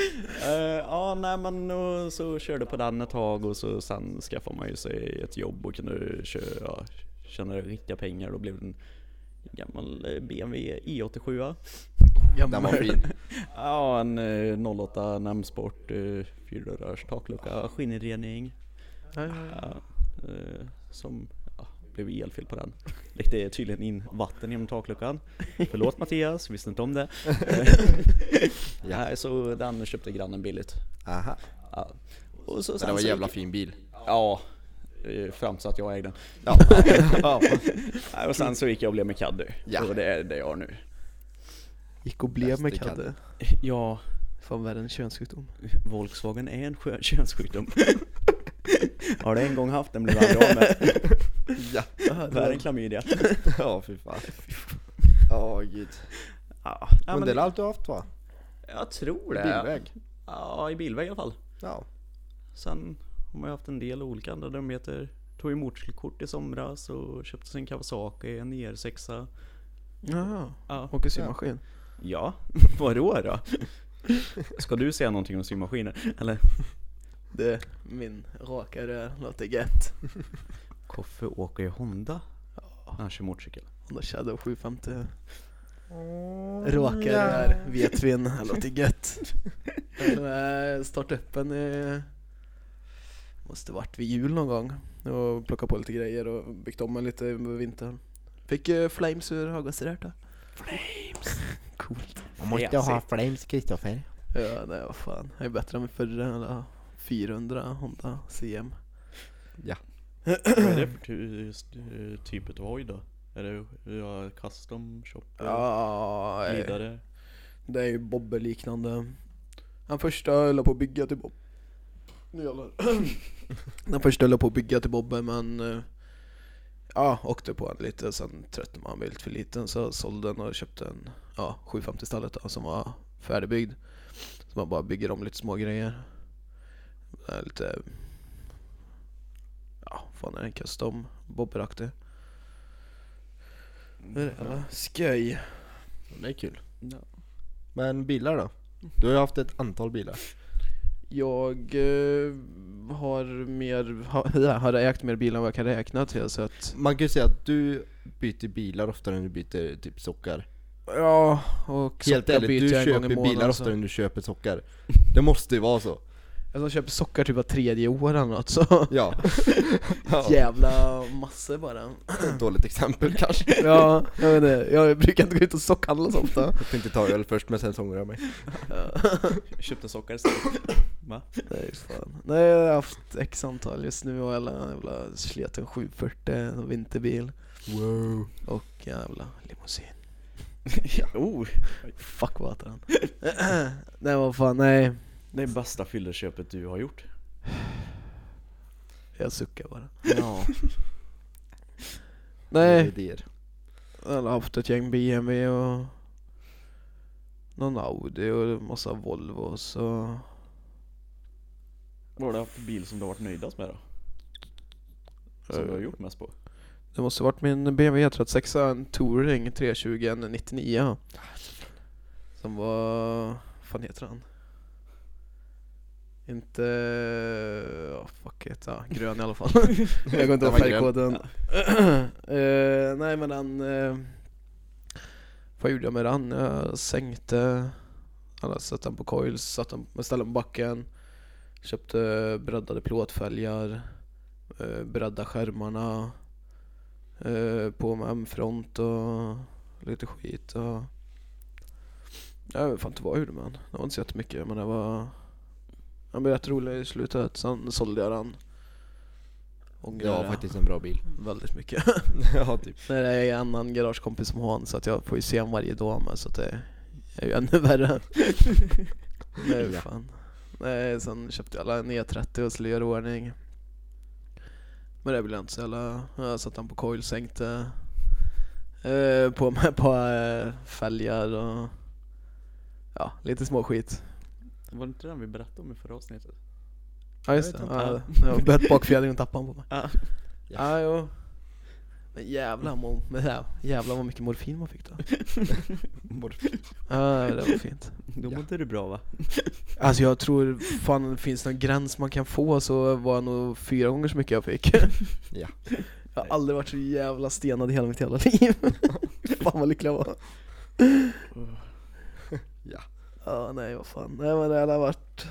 Speaker 3: Eh, Ja, nej men och så körde på den ett tag och så sen skaffade man ju sig ett jobb och kunde köra, ja, tjäna riktiga pengar. Då blev det en gammal eh, BMW i87.
Speaker 2: Den var fin.
Speaker 3: Ja, en eh, 08 namnsport, eh, fyrdörrars taklucka, skinninredning.
Speaker 1: Ja, ja, ja.
Speaker 3: Ja, eh, som ja, blev elfel på den. Läckte tydligen in vatten genom takluckan. Förlåt Mattias, visste inte om det.
Speaker 2: Ja.
Speaker 3: Nej, så den köpte grannen billigt.
Speaker 2: Aha.
Speaker 3: Ja. Och så,
Speaker 2: Men
Speaker 3: sen
Speaker 2: det var en
Speaker 3: så-
Speaker 2: jävla fin bil.
Speaker 3: Ja, eh, fram så att jag ägde den.
Speaker 2: Ja.
Speaker 3: Nej, Och sen så gick jag och blev med Caddy.
Speaker 2: Ja.
Speaker 3: Och det är det jag har nu.
Speaker 1: Gick och blev med
Speaker 2: Bäste Cadde.
Speaker 1: Cadde.
Speaker 3: Ja,
Speaker 1: Fan värre än könssjukdom.
Speaker 3: Volkswagen är en skö- könssjukdom. Har det en gång haft den blev jag aldrig av med.
Speaker 2: ja.
Speaker 3: Värre än klamydia.
Speaker 2: Ja, fy fan. Åh gud.
Speaker 3: Ja,
Speaker 2: Men, det är allt du har haft va?
Speaker 3: jag tror det.
Speaker 2: Bilväg?
Speaker 3: Ja, i bilväg i alla fall.
Speaker 2: Ja.
Speaker 3: Sen har jag haft en del olika andra dumheter. Tog ju motorcykelkort i somras och köpte sin Kawasaki, en IR6.
Speaker 1: Jaha,
Speaker 3: Ja.
Speaker 1: åker symaskin.
Speaker 3: Ja, vadå då? Ska du säga någonting om symaskiner? Eller?
Speaker 1: Det är min raka rör låter gött.
Speaker 3: Koffe åker ju Honda. Han kör motorcykel.
Speaker 1: Honda Shadow 750. Mm, Raka rör, vetvin, det låter gött. Alltså, Jag startade upp en i... Måste varit vid jul någon gång. Och plockat på lite grejer och byggt om en lite över vintern. Fick eh, flames ur avgasröret då. Flames! Coolt.
Speaker 2: Man
Speaker 3: måste ha
Speaker 2: flames Kristoffer.
Speaker 1: Ja, nej vad fan. Det är bättre än min förra eller 400 Honda CM.
Speaker 3: Vad är det för ty- eh, typ av hoj då? Är det ja, custom shop?
Speaker 1: Ja, eh,
Speaker 3: Vidare?
Speaker 1: Det är ju Bobber-liknande. Den första höll på att bygga till Bob. Nu jävlar. Den första höll på att bygga till Bobber men eh, ja, åkte på den lite. Sen tröttnade man vilt för liten så sålde den och köpte en ja, 750 stallet då, som var färdigbyggd. Så man bara bygger om lite små grejer. Den är lite, ja fan är den custom, Bobberaktig. Det är det, va? Sköj.
Speaker 2: Mm. Det är kul.
Speaker 3: Ja.
Speaker 2: Men bilar då? Du har ju haft ett antal bilar.
Speaker 1: Jag eh, har mer, har, ja, har ägt mer bilar än vad jag kan räkna till så att
Speaker 2: Man kan ju säga att du byter bilar oftare än du byter typ sockar.
Speaker 1: Ja, och
Speaker 2: Helt
Speaker 1: sockar
Speaker 2: ärligt,
Speaker 1: byter
Speaker 2: du
Speaker 1: jag en gång
Speaker 2: köper
Speaker 1: i
Speaker 2: bilar
Speaker 1: månaden, så-
Speaker 2: oftare än du köper sockar. Det måste ju vara så.
Speaker 1: Alltså jag köper sockar typ var tredje år eller något så
Speaker 2: Ja. ja.
Speaker 1: Jävla massor bara
Speaker 2: Dåligt exempel kanske.
Speaker 1: Ja, jag vet inte, jag brukar inte gå ut och sockhandla så ofta
Speaker 2: Jag tänkte ta öl först men sen så ångrar jag mig.
Speaker 3: Jag köpte sockar istället. Va?
Speaker 1: Nej fan. Nej jag har haft x antal just nu och jävla, jävla sleten 740, en vinterbil
Speaker 2: Wow.
Speaker 1: och jävla limousin
Speaker 3: Oh,
Speaker 1: Fuck vad heter den? nej vad fan, nej
Speaker 3: det är bästa fylleköpet du har gjort.
Speaker 1: Jag suckar bara
Speaker 3: Ja.
Speaker 1: Nej,
Speaker 2: Idéer.
Speaker 1: Jag har haft ett gäng BMW och någon Audi och massa Volvo så...
Speaker 3: Vad har du haft för bil som du har varit nöjdast med då? Som du har gjort mest på?
Speaker 1: Det måste varit min BMW 36 E en Touring 320 en 99 Som var... Vad fan heter han? Inte... ja fuck it, ja, grön i alla fall. Jag går inte ihåg
Speaker 2: Den var grön.
Speaker 1: färgkoden. Eh, nej men den... eh, vad gjorde jag med den? Jag sänkte... Alla satte den på coils, satte den, ställde den på backen. Köpte breddade plåtfälgar. eh, Bredda skärmarna. eh, På med M-front och lite skit och... Jag vet fan inte vad jag gjorde med den. Det var inte så jättemycket men det var... Den blev rätt rolig i slutet, sen sålde jag den. Ångrar
Speaker 2: Ja,
Speaker 1: det
Speaker 2: faktiskt en bra bil.
Speaker 1: väldigt mycket.
Speaker 2: ja, typ.
Speaker 1: Nej, det är en annan garagekompis som har en så att jag får ju se honom varje dag med så att det är ju ännu värre. Nej
Speaker 2: Ja.
Speaker 1: fan. Nej, sen köpte jag alla en E30 och skulle göra i ordning. Men det blev inte så jävla... Jag satte han på coil, sänkte. Eh, på med ett par eh, fälgar och... Ja, lite småskit.
Speaker 3: Var det inte den vi berättade om i förra avsnittet?
Speaker 1: Ja just det,
Speaker 3: Jag vet
Speaker 1: ja,
Speaker 3: inte.
Speaker 1: jag bett bakfjädringen och tappade han på mig.
Speaker 3: Ja.
Speaker 1: Ja, jo. Men jävlar, må- men jä- jävlar vad mycket morfin man fick då. Ja, det var fint.
Speaker 3: Då
Speaker 2: Ja.
Speaker 3: mådde du bra va?
Speaker 1: Alltså jag tror fan finns det någon gräns man kan få så var det nog fyra gånger så mycket jag fick.
Speaker 2: Ja.
Speaker 1: Jag har aldrig varit så jävla stenad i hela mitt jävla liv. fan vad lycklig jag var.
Speaker 2: Ja.
Speaker 1: Ja, nej vad fan. Nej men det har varit...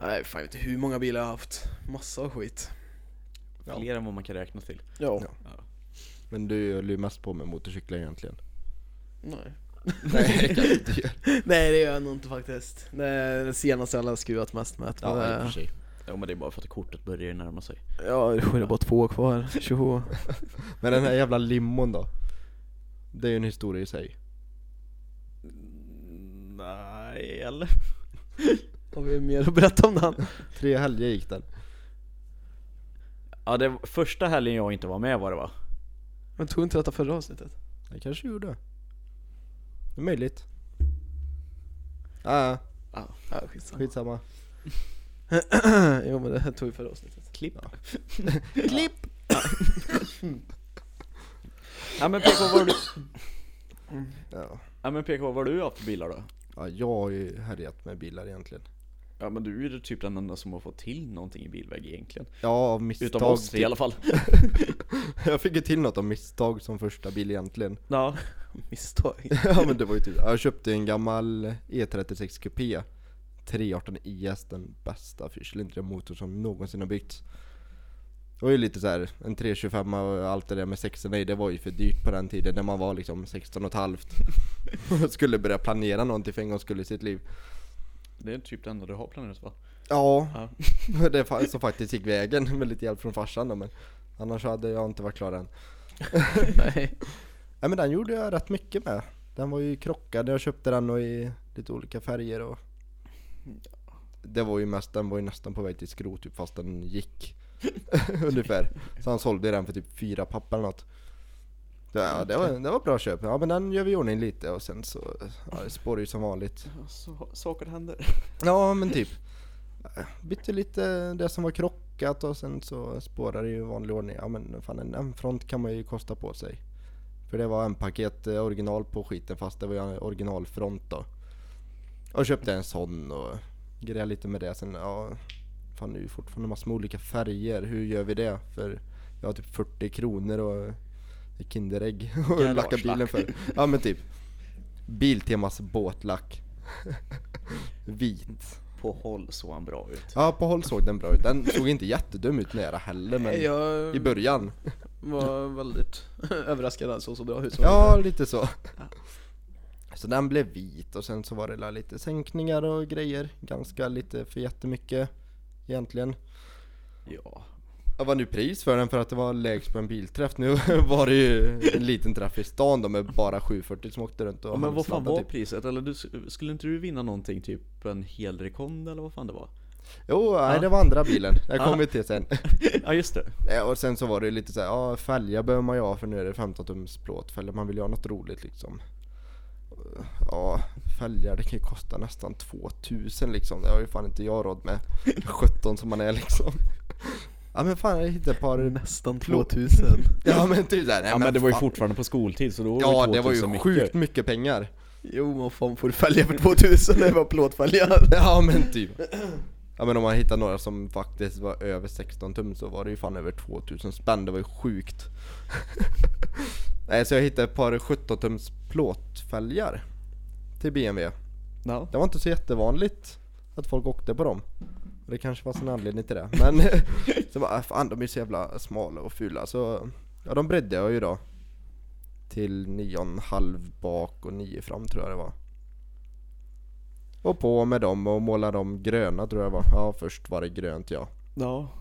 Speaker 1: Nej fan jag vet inte hur många bilar jag har haft. Massa av skit.
Speaker 2: Ja.
Speaker 3: Fler än vad man kan räkna till.
Speaker 1: Ja.
Speaker 2: Ja. Men du höll ju mest på med motorcyklar egentligen.
Speaker 1: Nej.
Speaker 2: Nej, det kanske inte gör.
Speaker 1: nej det gör jag nog inte faktiskt. Det är det senaste jag har skruvat mest med. men
Speaker 2: Ja, i och
Speaker 3: Eh.
Speaker 1: det-
Speaker 2: för sig.
Speaker 3: Ja men det är bara för att kortet börjar ju närma sig.
Speaker 1: Ja, det är bara två kvar. Tjoho.
Speaker 2: Men den här jävla limon då? Det är ju en historia i sig.
Speaker 3: Nej eller?
Speaker 1: Har vi mer att berätta om den?
Speaker 2: Tre helger gick den.
Speaker 3: Ja det var första helgen jag inte var med var det va?
Speaker 1: Men tog inte detta förra avsnittet?
Speaker 2: Det kanske gjorde. Det är möjligt. Ja,
Speaker 1: Ja, ah, skitsamma.
Speaker 2: skitsamma.
Speaker 1: jo men det tog vi förra avsnittet.
Speaker 3: Klipp.
Speaker 2: Ja.
Speaker 3: Klipp! Ja men PK vad har du,
Speaker 2: Ja.
Speaker 3: ja, men PK, vad har du haft för bilar då?
Speaker 2: ja, jag har ju härjat med bilar egentligen.
Speaker 3: Ja men du är ju typ den enda som har fått till någonting i bilväg egentligen.
Speaker 2: Ja, av misstag.
Speaker 3: Utom oss i alla fall.
Speaker 2: Jag fick ju till något av misstag som första bil egentligen.
Speaker 3: Ja.
Speaker 1: Misstag.
Speaker 2: Ja men det var ju typ, jag köpte en gammal E E36 Coupé 318 IS, E den bästa fyrcylindriga motor som någonsin har byggts. Det var ju lite så här, en 325 och allt det där med sexorna i, det var ju för dyrt på den tiden när man var liksom 16 och ett halvt. Och skulle börja planera någonting för en gång skulle i sitt liv.
Speaker 3: Det är typ det enda du har planerat va?
Speaker 2: Ja,
Speaker 3: Ja.
Speaker 2: det fa- som faktiskt gick vägen med lite hjälp från farsan då men annars hade jag inte varit klar än.
Speaker 1: Nej.
Speaker 2: Nej men den gjorde jag rätt mycket med. Den var ju krockad, jag köpte den och i lite olika färger och... Det var ju mest, den var ju nästan på väg till skrot typ fast den gick. Ungefär. Så han sålde den för typ fyra papp eller något. Ja, det var, det var bra köp. Ja men den gör vi i ordning lite och sen så, ja det spårar ju som vanligt.
Speaker 3: Så, saker händer.
Speaker 2: Ja men typ. Bytte lite det som var krockat och sen så spårar det ju i vanlig ordning. Ja men fan en M-front kan man ju kosta på sig. För det var M-paket eh, original på skiten fast det var ju en originalfront då. Och köpte en sån och grejade lite med det. Sen ja, fan det är ju fortfarande massor med olika färger. Hur gör vi det? För jag har typ 40 kronor och ett Kinderägg och lacka
Speaker 3: Garagelack.
Speaker 2: bilen för. Ja men typ. Biltemas båtlack. Vit.
Speaker 3: På håll såg han bra ut.
Speaker 2: Ja, på håll såg den bra ut. Den såg inte jättedum ut nära heller men
Speaker 1: Jag
Speaker 2: i början.
Speaker 1: var väldigt överraskad att den såg så bra ut som
Speaker 2: Ja, lite så. Så den blev vit och sen så var det la lite sänkningar och grejer. Ganska lite för jättemycket egentligen.
Speaker 3: Ja.
Speaker 2: Jag var nu pris för den för att det var lägst på en bilträff. Nu var det ju en liten träff i stan då med bara 740 som åkte runt och
Speaker 3: men vad fan
Speaker 2: handsladdade
Speaker 3: var
Speaker 2: typ.
Speaker 3: priset? Eller du, skulle inte du vinna någonting? Typ en helrekond eller vad fan det var?
Speaker 2: Jo, nej,
Speaker 3: Ja.
Speaker 2: det var andra bilen. Jag
Speaker 3: Ja.
Speaker 2: kommer vi till sen.
Speaker 3: ja just det.
Speaker 2: Nej, Eh, och sen så var det lite så här, ja fälgar behöver man ju ha för nu är det 15 tums plåtfälgar, man vill ju ha något roligt liksom. ja, fälgar det kan ju kosta nästan 2000 liksom. Det har ju fan inte jag råd med. 17 som man är liksom. Ja men fan jag hittade ett par...
Speaker 1: Nästan
Speaker 2: Plå-
Speaker 1: 2000.
Speaker 2: Ja men typ såhär, nej,
Speaker 3: Mm. Ja men det var ju
Speaker 2: fan.
Speaker 3: fortfarande på skoltid så då
Speaker 2: Ja det var
Speaker 3: 2000
Speaker 2: ju
Speaker 3: mycket.
Speaker 2: sjukt mycket pengar.
Speaker 1: Jo, vad fan får du fälga för 2000 när det var plåtfälgar?
Speaker 2: Ja men typ. Ja men om man hittar några som faktiskt var över 16 tum så var det ju fan över 2000 spänn, det var ju sjukt. Nej så jag hittade ett par 17 tums plåtfälgar till BMW.
Speaker 3: Ja.
Speaker 2: Det var inte så jättevanligt att folk åkte på dem. Och Det kanske fanns en anledning till det. Men så bara, "Ah, fan de är så jävla smala och fula så ja de bredde jag ju då. Till 9,5 bak och 9 fram tror jag det var. Och på med dem och måla dem gröna tror jag det var. Ja först var det grönt ja.
Speaker 3: Ja,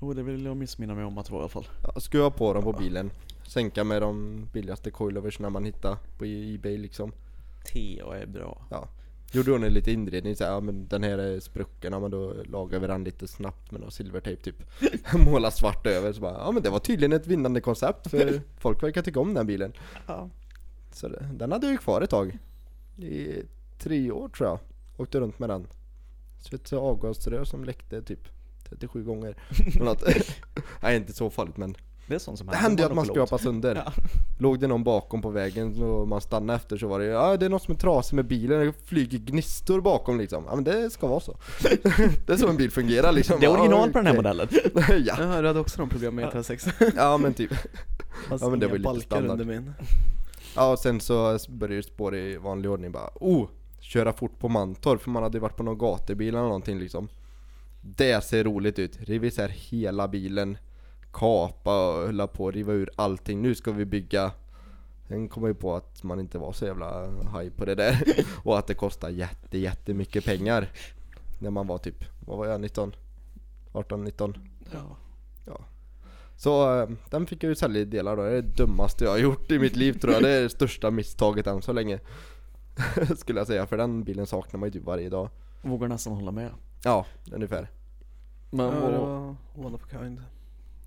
Speaker 3: jo det vill jag missminna mig om att det var i alla fall.
Speaker 2: ja skruva på dem på bilen. Sänka med de billigaste coiloversna man hittar på ebay liksom.
Speaker 3: Te och är bra.
Speaker 2: Ja. Gjorde hon en liten inredning såhär, ja men den här är sprucken, ja men då lagar vi den lite snabbt med någon silvertejp typ Måla svart över, så bara, ja men det var tydligen ett vinnande koncept för folk verkar tycka om den bilen
Speaker 3: Ja.
Speaker 2: Så det- den hade jag ju kvar ett tag I tre år tror jag, åkte runt med den Så ett avgasrör som läckte typ 37 gånger Eller något. Nej inte så farligt men
Speaker 3: Det är sånt som
Speaker 2: det hände ju att man
Speaker 3: Monopolet.
Speaker 2: skrapade sönder.
Speaker 3: Ja.
Speaker 2: Låg det någon bakom på vägen och man stannade efter så var det ja det är något som är trasigt med bilen, det flyger gnistor bakom liksom. Ja men det ska vara så. det är så en bil fungerar liksom.
Speaker 3: Det är original
Speaker 2: Ja,
Speaker 3: på den här
Speaker 2: okej.
Speaker 3: modellen.
Speaker 2: ja.
Speaker 1: Ja, du hade också de problemen med E36.
Speaker 2: ja men typ.
Speaker 1: Fast
Speaker 2: Ja, men det var ju lite
Speaker 1: balkar
Speaker 2: standard.
Speaker 1: under min.
Speaker 2: Ja och sen så började det spåra i vanlig ordning bara oh! Köra fort på Mantorp för man hade ju varit på någon gatubil eller någonting liksom. Det ser roligt ut. Riv isär hela bilen. Kapa och hålla på att riva ur allting. Nu ska vi bygga. Sen kom jag ju på att man inte var så jävla haj på det där. Och att det kostar jätte jättemycket pengar. När man var typ, vad var jag, 19? 18, 19?
Speaker 3: Ja.
Speaker 2: Så eh, den fick jag ju sälja i delar då, det är det dummaste jag har gjort i mitt liv tror jag. Det är det största misstaget än så länge. Skulle jag säga, för den bilen saknar man ju typ varje dag.
Speaker 3: Vågar nästan hålla med.
Speaker 2: Ja, ungefär.
Speaker 3: Men
Speaker 1: Ja, det
Speaker 3: vad,
Speaker 1: var one of a kind.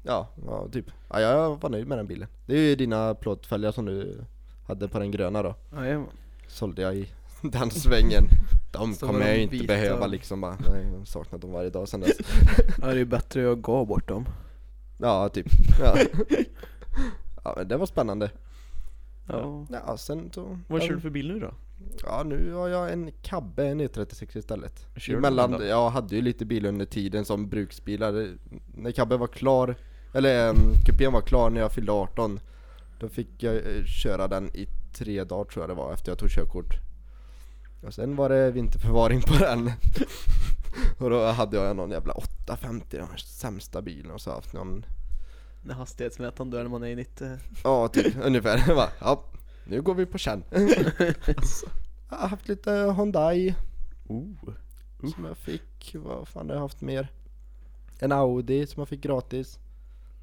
Speaker 2: Ja, ja typ. Ja, jag var nöjd med den bilen. Det är ju dina plåtfälgar som du hade på den gröna då.
Speaker 1: Jajamän.
Speaker 2: Sålde jag i den svängen. De
Speaker 1: Så
Speaker 2: kommer
Speaker 1: var
Speaker 2: jag
Speaker 1: de
Speaker 2: ju inte
Speaker 1: vita.
Speaker 2: behöva liksom bara. Nej, jag har saknat dem varje dag sen dess.
Speaker 1: Ja, det är ju bättre att jag gav bort dem.
Speaker 2: Ja, typ. Ja. Ja men det var spännande.
Speaker 1: Ja.
Speaker 2: Ja, sen så...
Speaker 3: vad
Speaker 2: den-
Speaker 3: kör du för bil nu då?
Speaker 2: Ja nu har jag en Cabbe, en E36 istället.
Speaker 3: Kör du
Speaker 2: Emellan,
Speaker 3: den då?
Speaker 2: jag hade ju lite bil under tiden som bruksbilar. Det- När Cabben var klar, eller um, kupén var klar när jag fyllde 18. Då fick jag eh, köra den i tre dagar tror jag det var efter jag tog körkort. Och sen var det vinterförvaring på den. och då hade jag någon jävla 850, den sämsta bilen och så har jag haft någon
Speaker 1: När hastighetsmätaren dör när man är i 90.
Speaker 2: Ja, typ ungefär. Jag bara, ja, nu går vi på känn. jag har haft lite Hyundai
Speaker 3: Oh.
Speaker 2: som jag fick. Vad fan har jag haft mer? En Audi som jag fick gratis.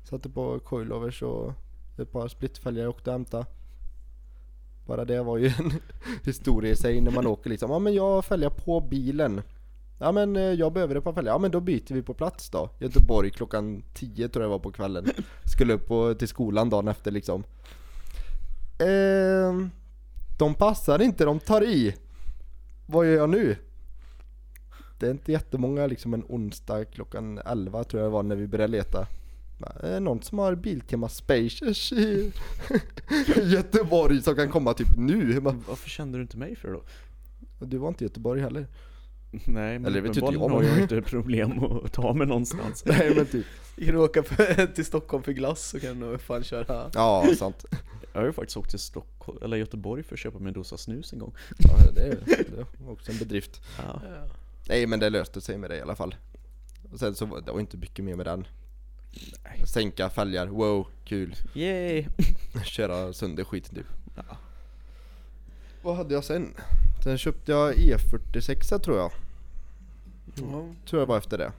Speaker 2: Satte på coilovers och ett par splittfälgar jag åkte och hämtade. Bara det var ju en historia i sig när man åker liksom. Ja men jag fälgar på bilen. Ja men eh, jag behöver ett par fälgar. Ja men då byter vi på plats då. Göteborg klockan 10 tror jag det var på kvällen. Skulle upp på, till skolan dagen efter liksom. Ehm, de passar inte, de tar i. Vad gör jag nu? Det är inte jättemånga liksom en onsdag klockan 11 tror jag det var när vi började leta. Bara, Är det någon som har Biltema Spacers i Göteborg som kan komma typ nu? Jag bara,
Speaker 3: Varför kände du inte mig för då?
Speaker 2: Du var inte i Göteborg heller.
Speaker 3: Nej men
Speaker 2: Eller det vet inte
Speaker 3: uppenbarligen
Speaker 2: jag,
Speaker 3: har
Speaker 2: men-
Speaker 3: jag inte problem att ta mig någonstans.
Speaker 2: Nej men typ.
Speaker 1: Kan du åka för, till Stockholm för glass så kan du nog fan köra.
Speaker 2: Ja, sant.
Speaker 3: Jag har ju faktiskt åkt till Stockholm, eller Göteborg för att köpa mig en dosa snus en gång.
Speaker 2: Ja, det, är, det var också en bedrift.
Speaker 3: Ja.
Speaker 2: Nej men det löste sig med det i alla fall. Och sen så var det var inte mycket mer med den.
Speaker 3: Nej.
Speaker 2: Sänka fälgar, wow, kul.
Speaker 3: Yay!
Speaker 2: Köra sönder skiten typ.
Speaker 3: Ja.
Speaker 2: Vad hade jag sen? Sen köpte jag E46 tror jag.
Speaker 1: Ja.
Speaker 2: Tror jag var efter det.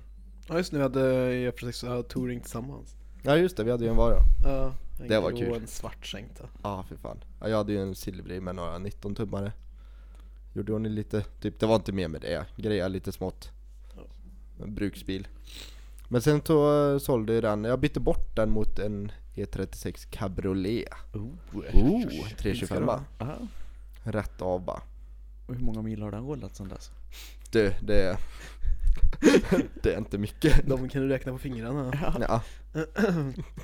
Speaker 1: Ja just nu hade jag precis uh, touring tillsammans.
Speaker 2: Ja just det, vi hade ju en var ja.
Speaker 1: Ja, en
Speaker 2: Det var
Speaker 1: grå
Speaker 2: kul.
Speaker 1: och en svart sänkta.
Speaker 2: Ja ah, för fan. Ja, jag hade ju en silvrig med några 19 tummare. Gjorde hon ju lite, typ det var inte mer med det. Greja lite smått.
Speaker 1: Ja.
Speaker 2: En bruksbil. Men sen så eh, sålde jag den, jag bytte bort den mot en E36 cabriolet.
Speaker 3: Oh.
Speaker 2: Oh, 325
Speaker 1: Ska det vara?
Speaker 2: Rätt av bara.
Speaker 3: Och hur många mil har den rullat sedan dess?
Speaker 2: Du, det är... det är inte mycket.
Speaker 1: De kan du räkna på fingrarna.
Speaker 2: Ja.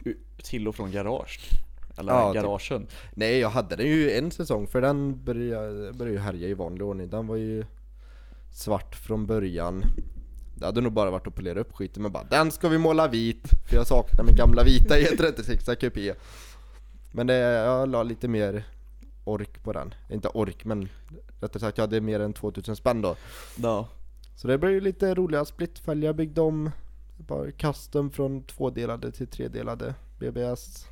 Speaker 3: U- Till och från garage. Eller
Speaker 2: Ja, typ.
Speaker 3: garagen.
Speaker 2: Nej, jag hade den ju en säsong för den började, började ju härja i vanlig ordning. Den var ju svart från början. Det hade nog bara varit att polera upp skiten men bara den ska vi måla vit för jag saknar min gamla vita E E36 kupé. Men det, jag la lite mer ork på den. Inte ork men rättare sagt jag hade mer än 2000 spänn då.
Speaker 3: Ja.
Speaker 2: Så det blev ju lite roliga splittfälgar. Jag byggde om ett par custom från tvådelade till tredelade BBS.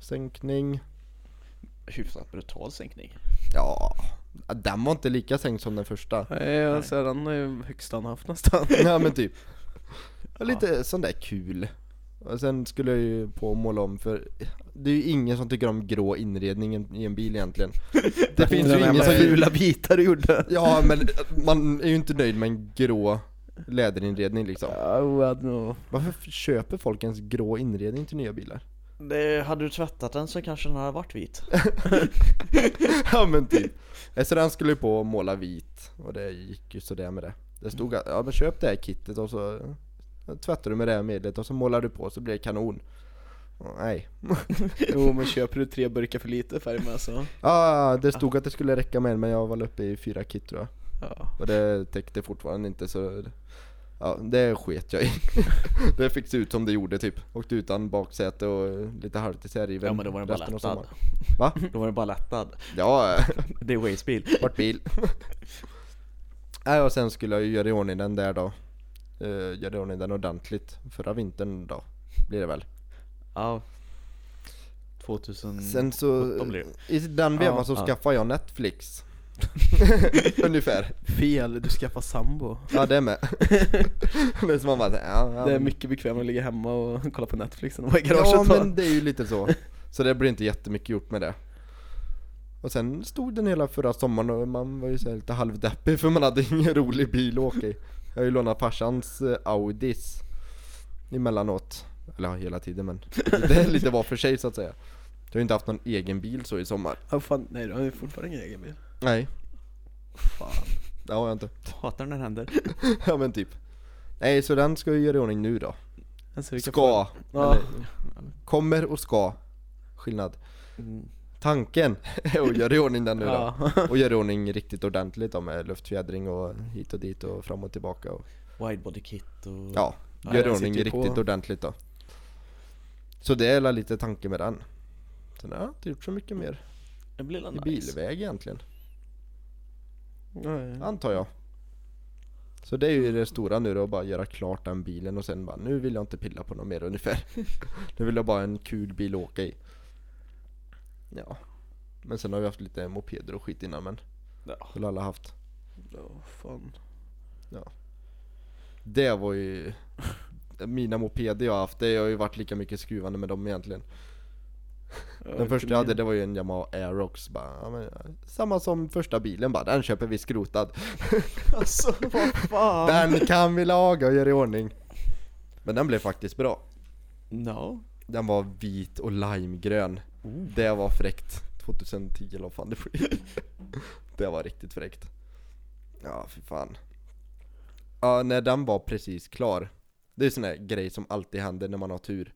Speaker 2: Sänkning.
Speaker 3: Hyfsat brutal sänkning.
Speaker 2: Ja, den var inte lika sänkt som den första.
Speaker 1: Nej, alltså den är ju högst han haft nästan.
Speaker 2: Ja men typ. Ja, Lite sån där kul. Och sen skulle jag ju på och måla om för det är ju ingen som tycker om grå inredning i en- i en bil egentligen. Det finns ju ingen som
Speaker 1: fula bitar du gjorde.
Speaker 2: Ja men man är ju inte nöjd med en grå läderinredning liksom.
Speaker 1: Ja, jag hade nog...
Speaker 2: Varför f- köper folk ens grå inredning till nya bilar?
Speaker 3: Det, hade du tvättat den så kanske den hade varit vit.
Speaker 2: Ja men typ. Så den skulle ju på och måla vit och det gick ju sådär med det. Det stod att ja men köp det här kittet och så tvättar du med det här medlet och så målar du på så blir det kanon. Åh, Nej.
Speaker 1: Jo, men köper du tre burkar för lite färg med så...
Speaker 2: Ja, det stod att det skulle räcka med en men jag var väl uppe i fyra kit tror jag.
Speaker 1: Ja.
Speaker 2: Och det täckte fortfarande inte så Ja, det sket jag i. det fick se ut som det gjorde typ. Åkte utan baksäte och lite halvt isärriven
Speaker 3: Ja men då var den bara
Speaker 2: resten av
Speaker 3: lättad.
Speaker 2: sommaren. Va?
Speaker 3: Då var den bara lättad.
Speaker 2: Ja,
Speaker 3: Det är Ways bil.
Speaker 2: Vart bil. Nej och sen skulle jag ju göra i ordning den där då. Uh, göra i ordning den ordentligt. Förra vintern då, blir det väl.
Speaker 3: Ja. 2000...
Speaker 2: Sen så,
Speaker 3: sjutton blir
Speaker 2: i den vevan
Speaker 3: Mm. Ja,
Speaker 2: så
Speaker 3: ja.
Speaker 2: skaffade jag Netflix. Ungefär.
Speaker 1: Fel, du skaffar sambo.
Speaker 2: Ja det är med. det är som man bara, så här, ja, ja,
Speaker 1: Det är
Speaker 2: men-
Speaker 1: mycket bekvämare att ligga hemma och kolla på Netflix än att vara i
Speaker 2: Ja
Speaker 1: garaget.
Speaker 2: men det är ju lite så. Så det blir inte jättemycket gjort med det. Och sen stod den hela förra sommaren och man var ju så här lite halvdeppig för man hade ingen rolig bil att åka i. Jag har ju lånat farsans eh, Audis emellanåt. Eller ja, hela tiden men det är lite var för sig så att säga. Jag har ju inte haft någon egen bil så i sommar.
Speaker 1: Ja, fan, nej du har ju fortfarande ingen egen bil.
Speaker 2: Nej,
Speaker 1: Fan.
Speaker 2: det har jag inte.
Speaker 3: Hatar när det händer.
Speaker 2: Ja men typ. Nej så den ska ju göra i ordning nu då.
Speaker 1: Alltså, vi kan
Speaker 2: Ska.
Speaker 1: få- Ja.
Speaker 2: Eller, kommer och ska. Skillnad.
Speaker 3: Mm.
Speaker 2: Tanken är att göra i ordning den nu då.
Speaker 1: Ja.
Speaker 2: Och gör i ordning riktigt ordentligt då med luftfjädring och hit och dit och fram och tillbaka och
Speaker 3: Widebody kit och...
Speaker 2: ja, gör
Speaker 3: Ja,
Speaker 2: i
Speaker 1: Mm. jag
Speaker 2: ordning
Speaker 1: sitter ju på-
Speaker 2: riktigt ordentligt då. Så det är väl lite tanke med den. Sen har jag inte gjort så mycket mer
Speaker 3: Det blir väl
Speaker 2: i
Speaker 3: nice.
Speaker 2: bilväg egentligen,
Speaker 1: Ja, ja.
Speaker 2: antar jag. Så det är ju det stora nu då, att bara göra klart den bilen och sen bara nu vill jag inte pilla på något mer ungefär. nu vill jag bara ha en kul bil att åka i. Ja. Men sen har vi haft lite mopeder och skit innan men,
Speaker 3: Ja.
Speaker 2: väl alla haft.
Speaker 1: Ja, fan.
Speaker 2: Det var ju Mina mopeder jag har haft, det har ju varit lika mycket skruvande med dem egentligen
Speaker 1: Ja,
Speaker 2: Den
Speaker 1: inte
Speaker 2: första jag hade
Speaker 1: min.
Speaker 2: det var ju en Yamaha Aerox bara, ja, men, Samma som första bilen bara, den köper vi skrotad
Speaker 3: Alltså vad fan.
Speaker 2: Den kan vi laga och göra i ordning Men den blev faktiskt bra
Speaker 3: No.
Speaker 2: Den var vit och limegrön Det var fräckt 2010 eller vad fan det blir Det var riktigt fräckt Ja för fan Ja när den var precis klar Det är sån här grej som alltid händer när man har tur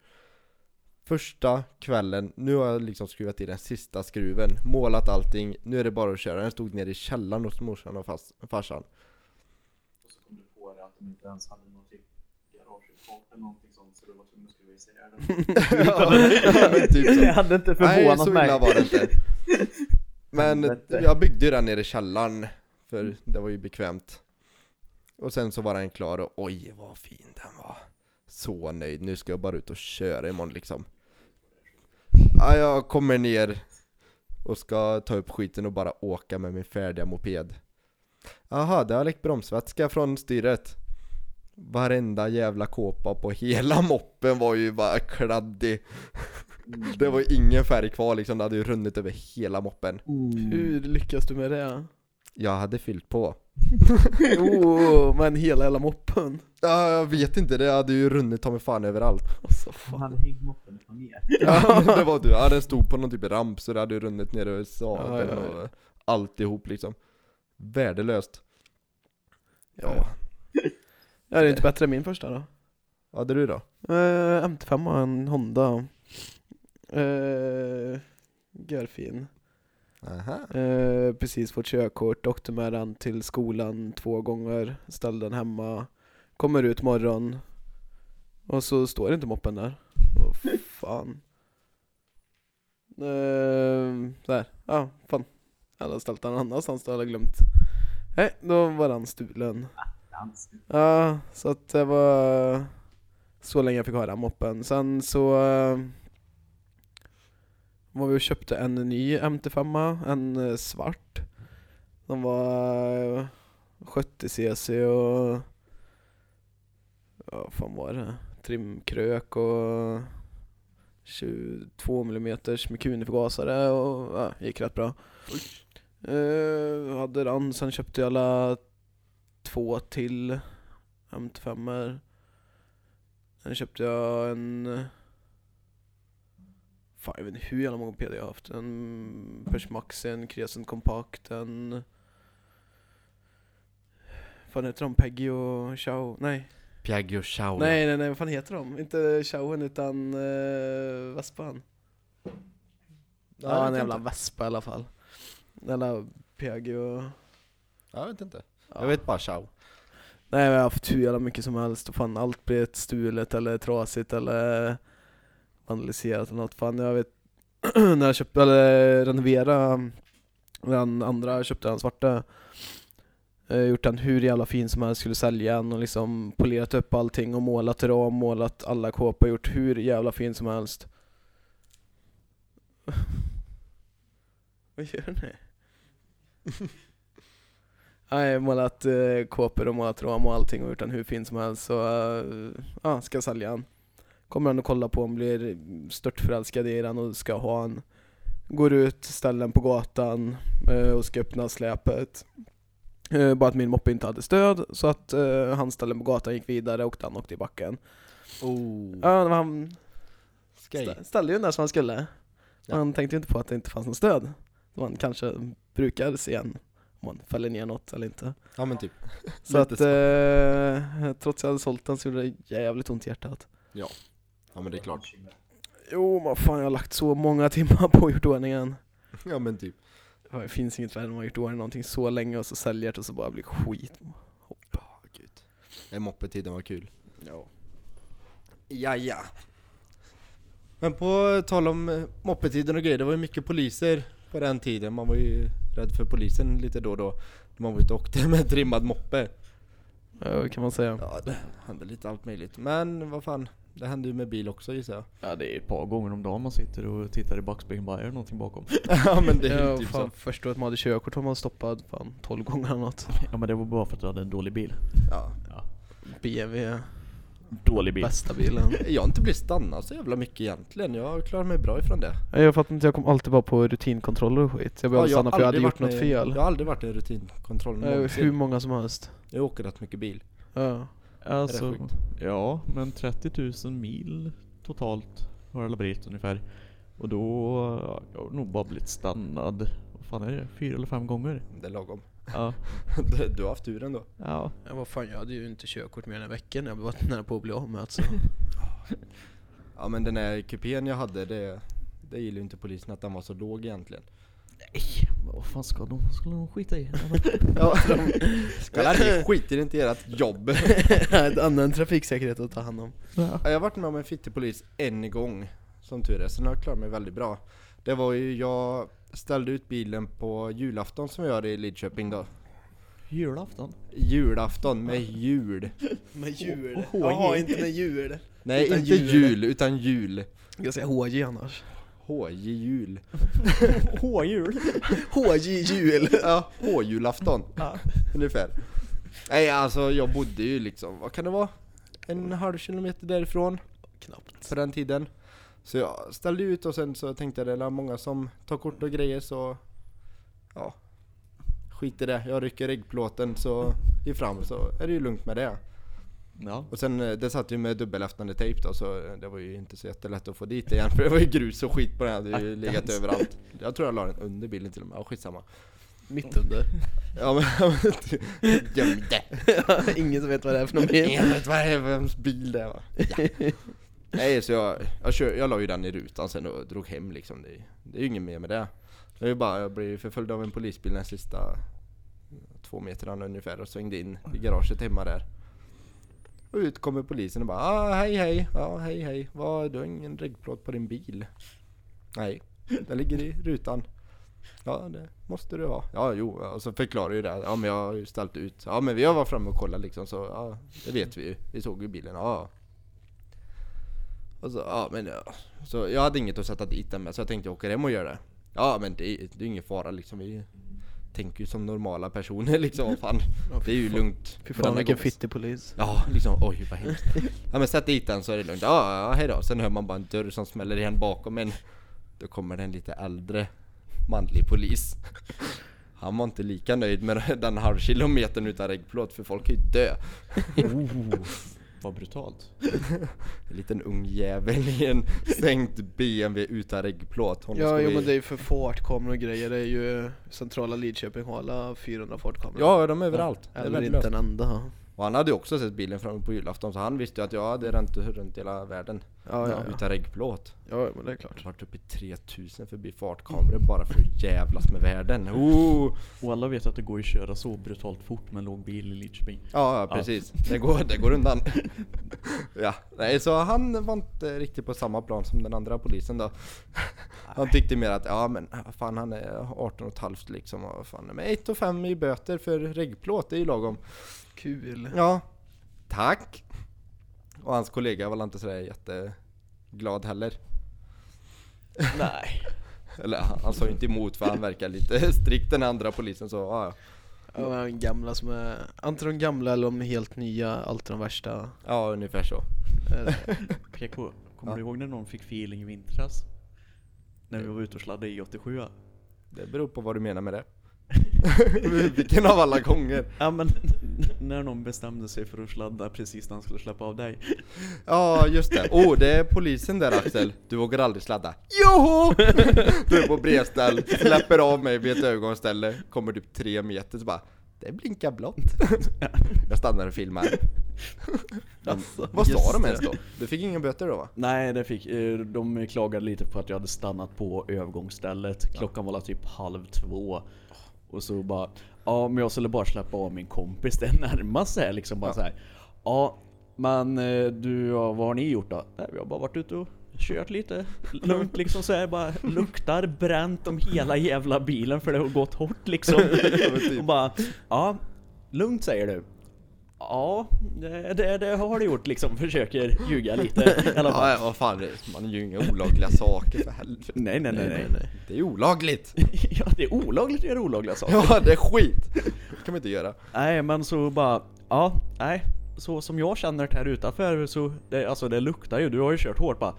Speaker 2: Första kvällen, nu har jag liksom skruvat i den sista skruven Målat allting, nu är det bara att köra Den stod nere i källaren hos morsan och fas, farsan Ja, men typ så.
Speaker 3: Jag hade inte
Speaker 2: Typ Nej, så
Speaker 3: förvånat
Speaker 2: illa
Speaker 3: mig.
Speaker 2: var det inte. Men eh, jag byggde ju den nere i källaren, för det var ju bekvämt. Och sen så var den klar och oj vad fin den var. Så nöjd, nu ska jag bara ut och köra imorgon liksom. Ja, jag kommer ner och ska ta upp skiten och bara åka med min färdiga moped. Aha, det har läckt bromsvätska från styret. Varenda jävla kåpa på hela moppen var ju bara kladdig. Det var ju ingen färg kvar liksom, det hade ju runnit över hela moppen.
Speaker 1: Hur lyckas du med det?
Speaker 2: Jag hade fyllt på.
Speaker 1: Oh, men hela hela moppen.
Speaker 2: Ja, jag vet inte, det hade ju runnit ta mig fan överallt.
Speaker 1: Alltså fan.
Speaker 3: hade hängt moppen utan mer.
Speaker 2: Ja, men det var du. typ Ja, den stod på någon typ av ramp så det hade ju runnit ner över sadeln
Speaker 1: Ja, ja, ja.
Speaker 2: och alltihop liksom. Värdelöst.
Speaker 1: Ja. ja. det är inte bättre än min första då.
Speaker 2: Vad hade du då?
Speaker 1: Eh, MT5 och en Honda. Uh, görfin.
Speaker 2: Aha.
Speaker 1: Eh, precis fått körkort, åkte med den till skolan två gånger, ställde den hemma, kommer ut morgon och så står inte moppen där. Åh fan. Eh, där, ja ah, fan. Jag hade ställt den någon annanstans, då hade jag glömt. Nej, då var den stulen. Ja, så att det var så länge jag fick ha den moppen. Sen så eh, var vi och köpte en ny MT5, en eh, svart. Den var eh, 70cc och... Ja, vad fan var det? Trimkrök och 22 mm Mikuni-förgasare och ja, gick rätt bra. Eh, hade den, sen köpte jag alla två till MT5 Sen köpte jag en... Fan jag vet inte hur jävla många PD jag har haft. En Persmax, en Crescent Compact, en... Fan heter de? Peggy och Chao? Nej.
Speaker 2: Piaggio Ciao.
Speaker 1: Nej, nej, nej, vad fan heter de? Inte Chaoen utan uh, Vespan.
Speaker 2: Ja,
Speaker 1: Ja,
Speaker 2: jag
Speaker 1: en
Speaker 2: vet
Speaker 1: jävla
Speaker 2: inte.
Speaker 1: Vespa i alla fall. Eller Peggy och...
Speaker 2: Jag vet inte.
Speaker 1: Ja.
Speaker 2: Jag vet bara Ciao.
Speaker 1: Nej men jag har haft hur jävla mycket som helst och fan allt blir ett stulet eller trasigt eller vandaliserat eller något. Fan jag vet, när jag köpte, eller renoverade den andra, jag köpte den svarta. Eh, gjort den hur jävla fin som helst, skulle sälja den och liksom polerat upp allting och målat ram, målat alla kåpor, gjort hur jävla fin som helst. Vad gör ni? Nej, målat eh, kåpor och målat ram och allting och gjort den hur fin som helst så eh, ja, ska jag sälja den. Kommer han och kolla på den, blir störtförälskad i den och ska ha den. Går ut, ställer den på gatan eh, och ska öppna släpet. Eh, bara att min moppe inte hade stöd så att eh, han ställde den på gatan, gick vidare och den åkte i backen.
Speaker 2: Oh.
Speaker 1: Ja, men han
Speaker 2: Skej.
Speaker 1: stä- ställde ju den där som han skulle.
Speaker 2: Ja.
Speaker 1: Han tänkte ju inte på att det inte fanns något stöd. Man kanske brukar se en om man fäller ner något eller inte.
Speaker 2: Ja men typ.
Speaker 1: Så
Speaker 2: Lite
Speaker 1: att,
Speaker 2: så.
Speaker 1: eh, trots att jag hade sålt den så gjorde det jävligt ont i hjärtat.
Speaker 2: Ja men det är klart.
Speaker 1: Jo, men fan jag har lagt så många timmar på att gjort ordningen.
Speaker 2: Ja men typ.
Speaker 1: Fan, Det finns inget värre än att ha gjort ordning någonting så länge och så säljer det och så bara blir skit.
Speaker 2: Oh, gud. Den moppetiden var kul.
Speaker 1: Ja.
Speaker 2: Ja ja. Men på tal om eh, moppetiden och grejer, det var ju mycket poliser på den tiden. Man var ju rädd för polisen lite då och då. När man var ute och åkte med en trimmad moppe.
Speaker 1: Ja, kan man säga.
Speaker 2: Ja, det hände lite allt möjligt. Men vad fan, det hände ju med bil också gissar jag.
Speaker 3: Ja det är ett par gånger om dagen man sitter och tittar i backspegeln bara är det någonting bakom?
Speaker 2: ja men det är ju
Speaker 1: Ja,
Speaker 2: typ
Speaker 1: fan,
Speaker 2: så.
Speaker 1: först då att man hade körkort var man stoppad fan 12 gånger eller något.
Speaker 3: Ja men det var bara för att du hade en dålig bil.
Speaker 2: Ja.
Speaker 1: BMW,
Speaker 3: Dålig bil.
Speaker 1: bästa bilen.
Speaker 2: Jag har inte blivit stannad så jävla mycket egentligen. Jag klarar mig bra ifrån det.
Speaker 1: Jag fattar inte, jag kom alltid bara på rutinkontroller och skit. Jag behövde
Speaker 2: jag har
Speaker 1: stanna för jag hade
Speaker 2: aldrig
Speaker 1: gjort
Speaker 2: varit
Speaker 1: något
Speaker 2: med-
Speaker 1: fel.
Speaker 2: Jag har aldrig varit i rutinkontroll
Speaker 1: Eh, hur
Speaker 2: någonsin.
Speaker 1: många som helst.
Speaker 2: Jag åker rätt mycket bil.
Speaker 1: Ja.
Speaker 3: Alltså,
Speaker 2: sjukt?
Speaker 3: ja men 30 000 mil totalt har jag laborerat ungefär. Och då ja, jag har nog bara blivit stannad, vad fan är det, fyra eller fem gånger?
Speaker 2: Det är lagom.
Speaker 3: Ja.
Speaker 2: Du- du har haft tur ändå.
Speaker 3: ja.
Speaker 1: Ja, vad fan, jag hade ju inte körkort mer än en vecka när jag varit nära på att bli av med alltså.
Speaker 2: Ja men den här kupén jag hade, det, det gillar ju inte polisen att den var så låg egentligen.
Speaker 3: Nej, men vad fan ska de, skulle de skita i? Ja, men-
Speaker 2: Ja, Kolla ni skiter inte i ert jobb.
Speaker 1: Ett annan trafiksäkerhet att ta hand om.
Speaker 3: Ja.
Speaker 2: Ja, Jag har varit med om en fittig polis en gång, som tur är, sen har jag klarat mig väldigt bra. Det var ju, jag ställde ut bilen på julafton som vi gör i Lidköping då.
Speaker 3: Julafton?
Speaker 2: Julafton med jul.
Speaker 1: Med djur?
Speaker 3: H- Jaha,
Speaker 1: inte med djur.
Speaker 2: Nej
Speaker 1: Utan
Speaker 2: inte
Speaker 1: jul.
Speaker 2: jul, utan jul.
Speaker 1: Jag säger HJ annars.
Speaker 2: HJ jul.
Speaker 3: H-jul?
Speaker 1: HJ jul!
Speaker 2: Ja, H-julafton. Ungefär. Nej alltså jag bodde ju liksom, vad kan det vara? En halv kilometer därifrån.
Speaker 1: Knappt.
Speaker 2: på den tiden. Så jag ställde ut och sen så tänkte jag det är många som tar kort och grejer så ja, skit i det. Jag rycker äggplåten så i fram så är det ju lugnt med det.
Speaker 3: Ja.
Speaker 2: Och sen eh, det satt ju med dubbelhäftande tejp då så eh, det var ju inte så jättelätt att få dit det igen
Speaker 1: Ah,
Speaker 2: för det var ju grus och skit på den. Det hade ju legat överallt. Jag tror jag la den under bilen till och med. Ja, skitsamma.
Speaker 1: Mitt under.
Speaker 2: Ja men, gömde.
Speaker 1: Ingen som vet vad det är för någon bil.
Speaker 2: Jag vet vad det är för vems bil det är va? Ja. Nej så jag, jag, kör, jag la ju den i rutan sen och drog hem liksom. Det, det är ju inget mer med det. Det är ju bara, jag blev förföljd av en polisbil den sista två metrarna ungefär och svängde in i garaget hemma där. Och ut kommer polisen och bara ah, hej hej, ja hej hej. Vad, du har ingen reggplåt på din bil? Nej, den ligger i rutan. Ja det måste du ha. Ja jo, och så förklarar ju det. Ja men jag har ju ställt ut. Ja men vi har varit framme och kollat liksom så ja, det vet vi ju. Vi såg ju bilen. Ja. Och så, ja men ja. Så jag hade inget att sätta dit den med så jag tänkte jag åker hem och gör det. Ja men det, är- det är ingen fara liksom. Vi tänker ju som normala personer liksom. Vad fan. Det är ju lugnt.
Speaker 1: Fy
Speaker 2: Den
Speaker 1: fan
Speaker 2: här
Speaker 1: vilken
Speaker 2: kompis-
Speaker 1: fittig polis.
Speaker 2: Ja, liksom oj vad hemskt. Ja men sätt dit den så är det lugnt. Ja, ja hejdå. Sen hör man bara en dörr som smäller igen bakom en. Då kommer den lite äldre manlig polis. Han var inte lika nöjd med den halvkilometern utan reggplåt för folk kan ju dö.
Speaker 3: Oh, Vad brutalt.
Speaker 2: En liten ung jävel i en sänkt BMW utan reggplåt. Honom
Speaker 1: Ja
Speaker 2: ska
Speaker 1: jo,
Speaker 2: vi-
Speaker 1: men det är ju för fartkameror och grejer. Det är ju centrala Lidköping har alla 400 fartkameror.
Speaker 2: Ja, de är överallt. Det är
Speaker 1: Eller
Speaker 2: värdelöst.
Speaker 1: inte en enda.
Speaker 2: Och han hade ju också sett bilen framme på julafton så han visste ju att jag hade ränt runt hela världen.
Speaker 1: Ja, ja, ja.
Speaker 2: Utan reggplåt.
Speaker 1: ja men det är klart.
Speaker 2: Jag har varit uppe i 3000 förbi fartkameror bara för att jävlas med världen. Oh!
Speaker 3: Och alla vet att det går att köra så brutalt fort med en låg bil i Lidköping.
Speaker 2: Ja, ja,
Speaker 3: Ja.
Speaker 2: precis. Det, går, det går undan. ja, nej, så han var inte riktigt på samma plan som den andra polisen då. Han tyckte mer att, ja men äh, fan han är 18 och ett halvt liksom. Och fan, men 1 och 5 i böter för reggplåt, det är ju lagom.
Speaker 1: Kul.
Speaker 2: Ja, tack! Och hans kollega var inte sådär jätteglad heller.
Speaker 3: Nej.
Speaker 2: Eller han sa ju inte emot för han verkar lite strikt den andra polisen så, ja ja.
Speaker 1: Ja, men gamla som är, antingen de gamla eller de helt nya, alltid de värsta.
Speaker 2: Ja, ungefär så.
Speaker 1: Eh,
Speaker 3: PK, kommer
Speaker 2: Ja.
Speaker 3: du ihåg när någon fick feeling i vintras? När vi var ute och sladdade i 87
Speaker 2: Det beror på vad du menar med det. Vilken av alla gånger?
Speaker 3: Ja men när någon bestämde sig för att sladda precis när han skulle släppa av dig.
Speaker 2: Ja, just det. Åh, oh, det är polisen där Axel. Du vågar aldrig sladda. Joho! Du är på brevställ, släpper av mig vid ett övergångsställe, kommer typ tre meter så bara Det blinkar blått. Jag stannar och filmar.
Speaker 3: Alltså,
Speaker 2: Vad sa
Speaker 3: just
Speaker 2: de
Speaker 3: det.
Speaker 2: ens då? Du fick ingen böter då va?
Speaker 3: Nej, det fick, eh, de klagade lite på att jag hade stannat på övergångsstället. Klockan var typ halv två. Och så bara, ja men jag skulle bara släppa av min kompis. Det närmaste här liksom bara
Speaker 2: Ja.
Speaker 3: så här. Ja, men eh, du, ja, vad har ni gjort då? Nej, vi har bara varit ute och kört lite lugnt liksom så här bara luktar bränt om hela jävla bilen för det har gått hårt liksom. Och bara, ja, lugnt säger du. Ja, det, det, det har du gjort liksom. Försöker ljuga lite i alla fall.
Speaker 2: Ja, vad fan, det- man gör ju inga olagliga saker för helvete.
Speaker 3: Nej, nej, nej, nej.
Speaker 2: Det är olagligt!
Speaker 3: Ja, det är olagligt att göra olagliga saker.
Speaker 2: Ja, det är skit! Det kan man inte göra.
Speaker 3: Nej, men så bara, ja, nej. Så som jag känner det här utanför så, det, alltså det luktar ju. Du har ju kört hårt bara.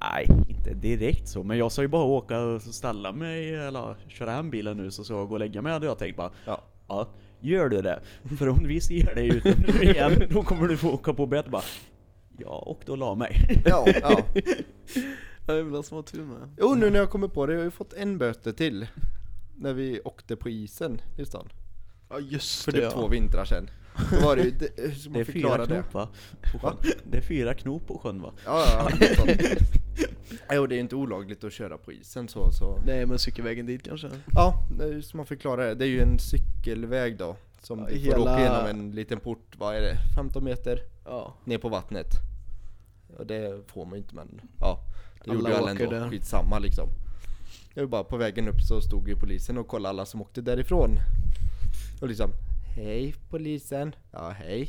Speaker 3: Nej, inte direkt så. Men jag ska ju bara åka och ställa mig eller köra hem bilen nu så ska jag gå och lägga mig hade jag tänkt bara.
Speaker 2: Ja.
Speaker 3: Ja, gör du det? För om vi ser dig ute nu igen, då kommer du få åka på bättre bara. Ja, och då la mig.
Speaker 2: Ja, ja.
Speaker 1: Ja, jävla små tur med.
Speaker 2: Jo, nu när jag kommer på det, jag har ju fått en böter till. När vi åkte på isen i stan.
Speaker 1: Ja just
Speaker 2: För
Speaker 1: det
Speaker 2: typ
Speaker 1: ja.
Speaker 2: två vintrar sedan. Då var det ju, det, som
Speaker 3: Det är fyra
Speaker 2: förklarade.
Speaker 3: knop va? På
Speaker 2: Va?
Speaker 3: sjön. Det är fyra knop på sjön va?
Speaker 2: Ja, ja, ja. något sånt. Jo, det är ju inte olagligt att köra på isen så. så.
Speaker 1: Nej men cykelvägen dit kanske?
Speaker 2: Ja, det är ju som man förklarar det. Det är ju en cykelväg då. Som
Speaker 1: Ja,
Speaker 2: du får
Speaker 1: hela-
Speaker 2: åka genom en liten port, vad är det, 15 meter
Speaker 1: Ja.
Speaker 2: ner på vattnet. Och det får man ju inte men ja, det
Speaker 1: Alla
Speaker 2: gjorde jag
Speaker 1: åker
Speaker 2: ändå.
Speaker 1: där.
Speaker 2: Skitsamma liksom. Jag var bara på vägen upp så stod ju polisen och kollade alla som åkte därifrån. Och liksom, hej polisen. Ja, hej.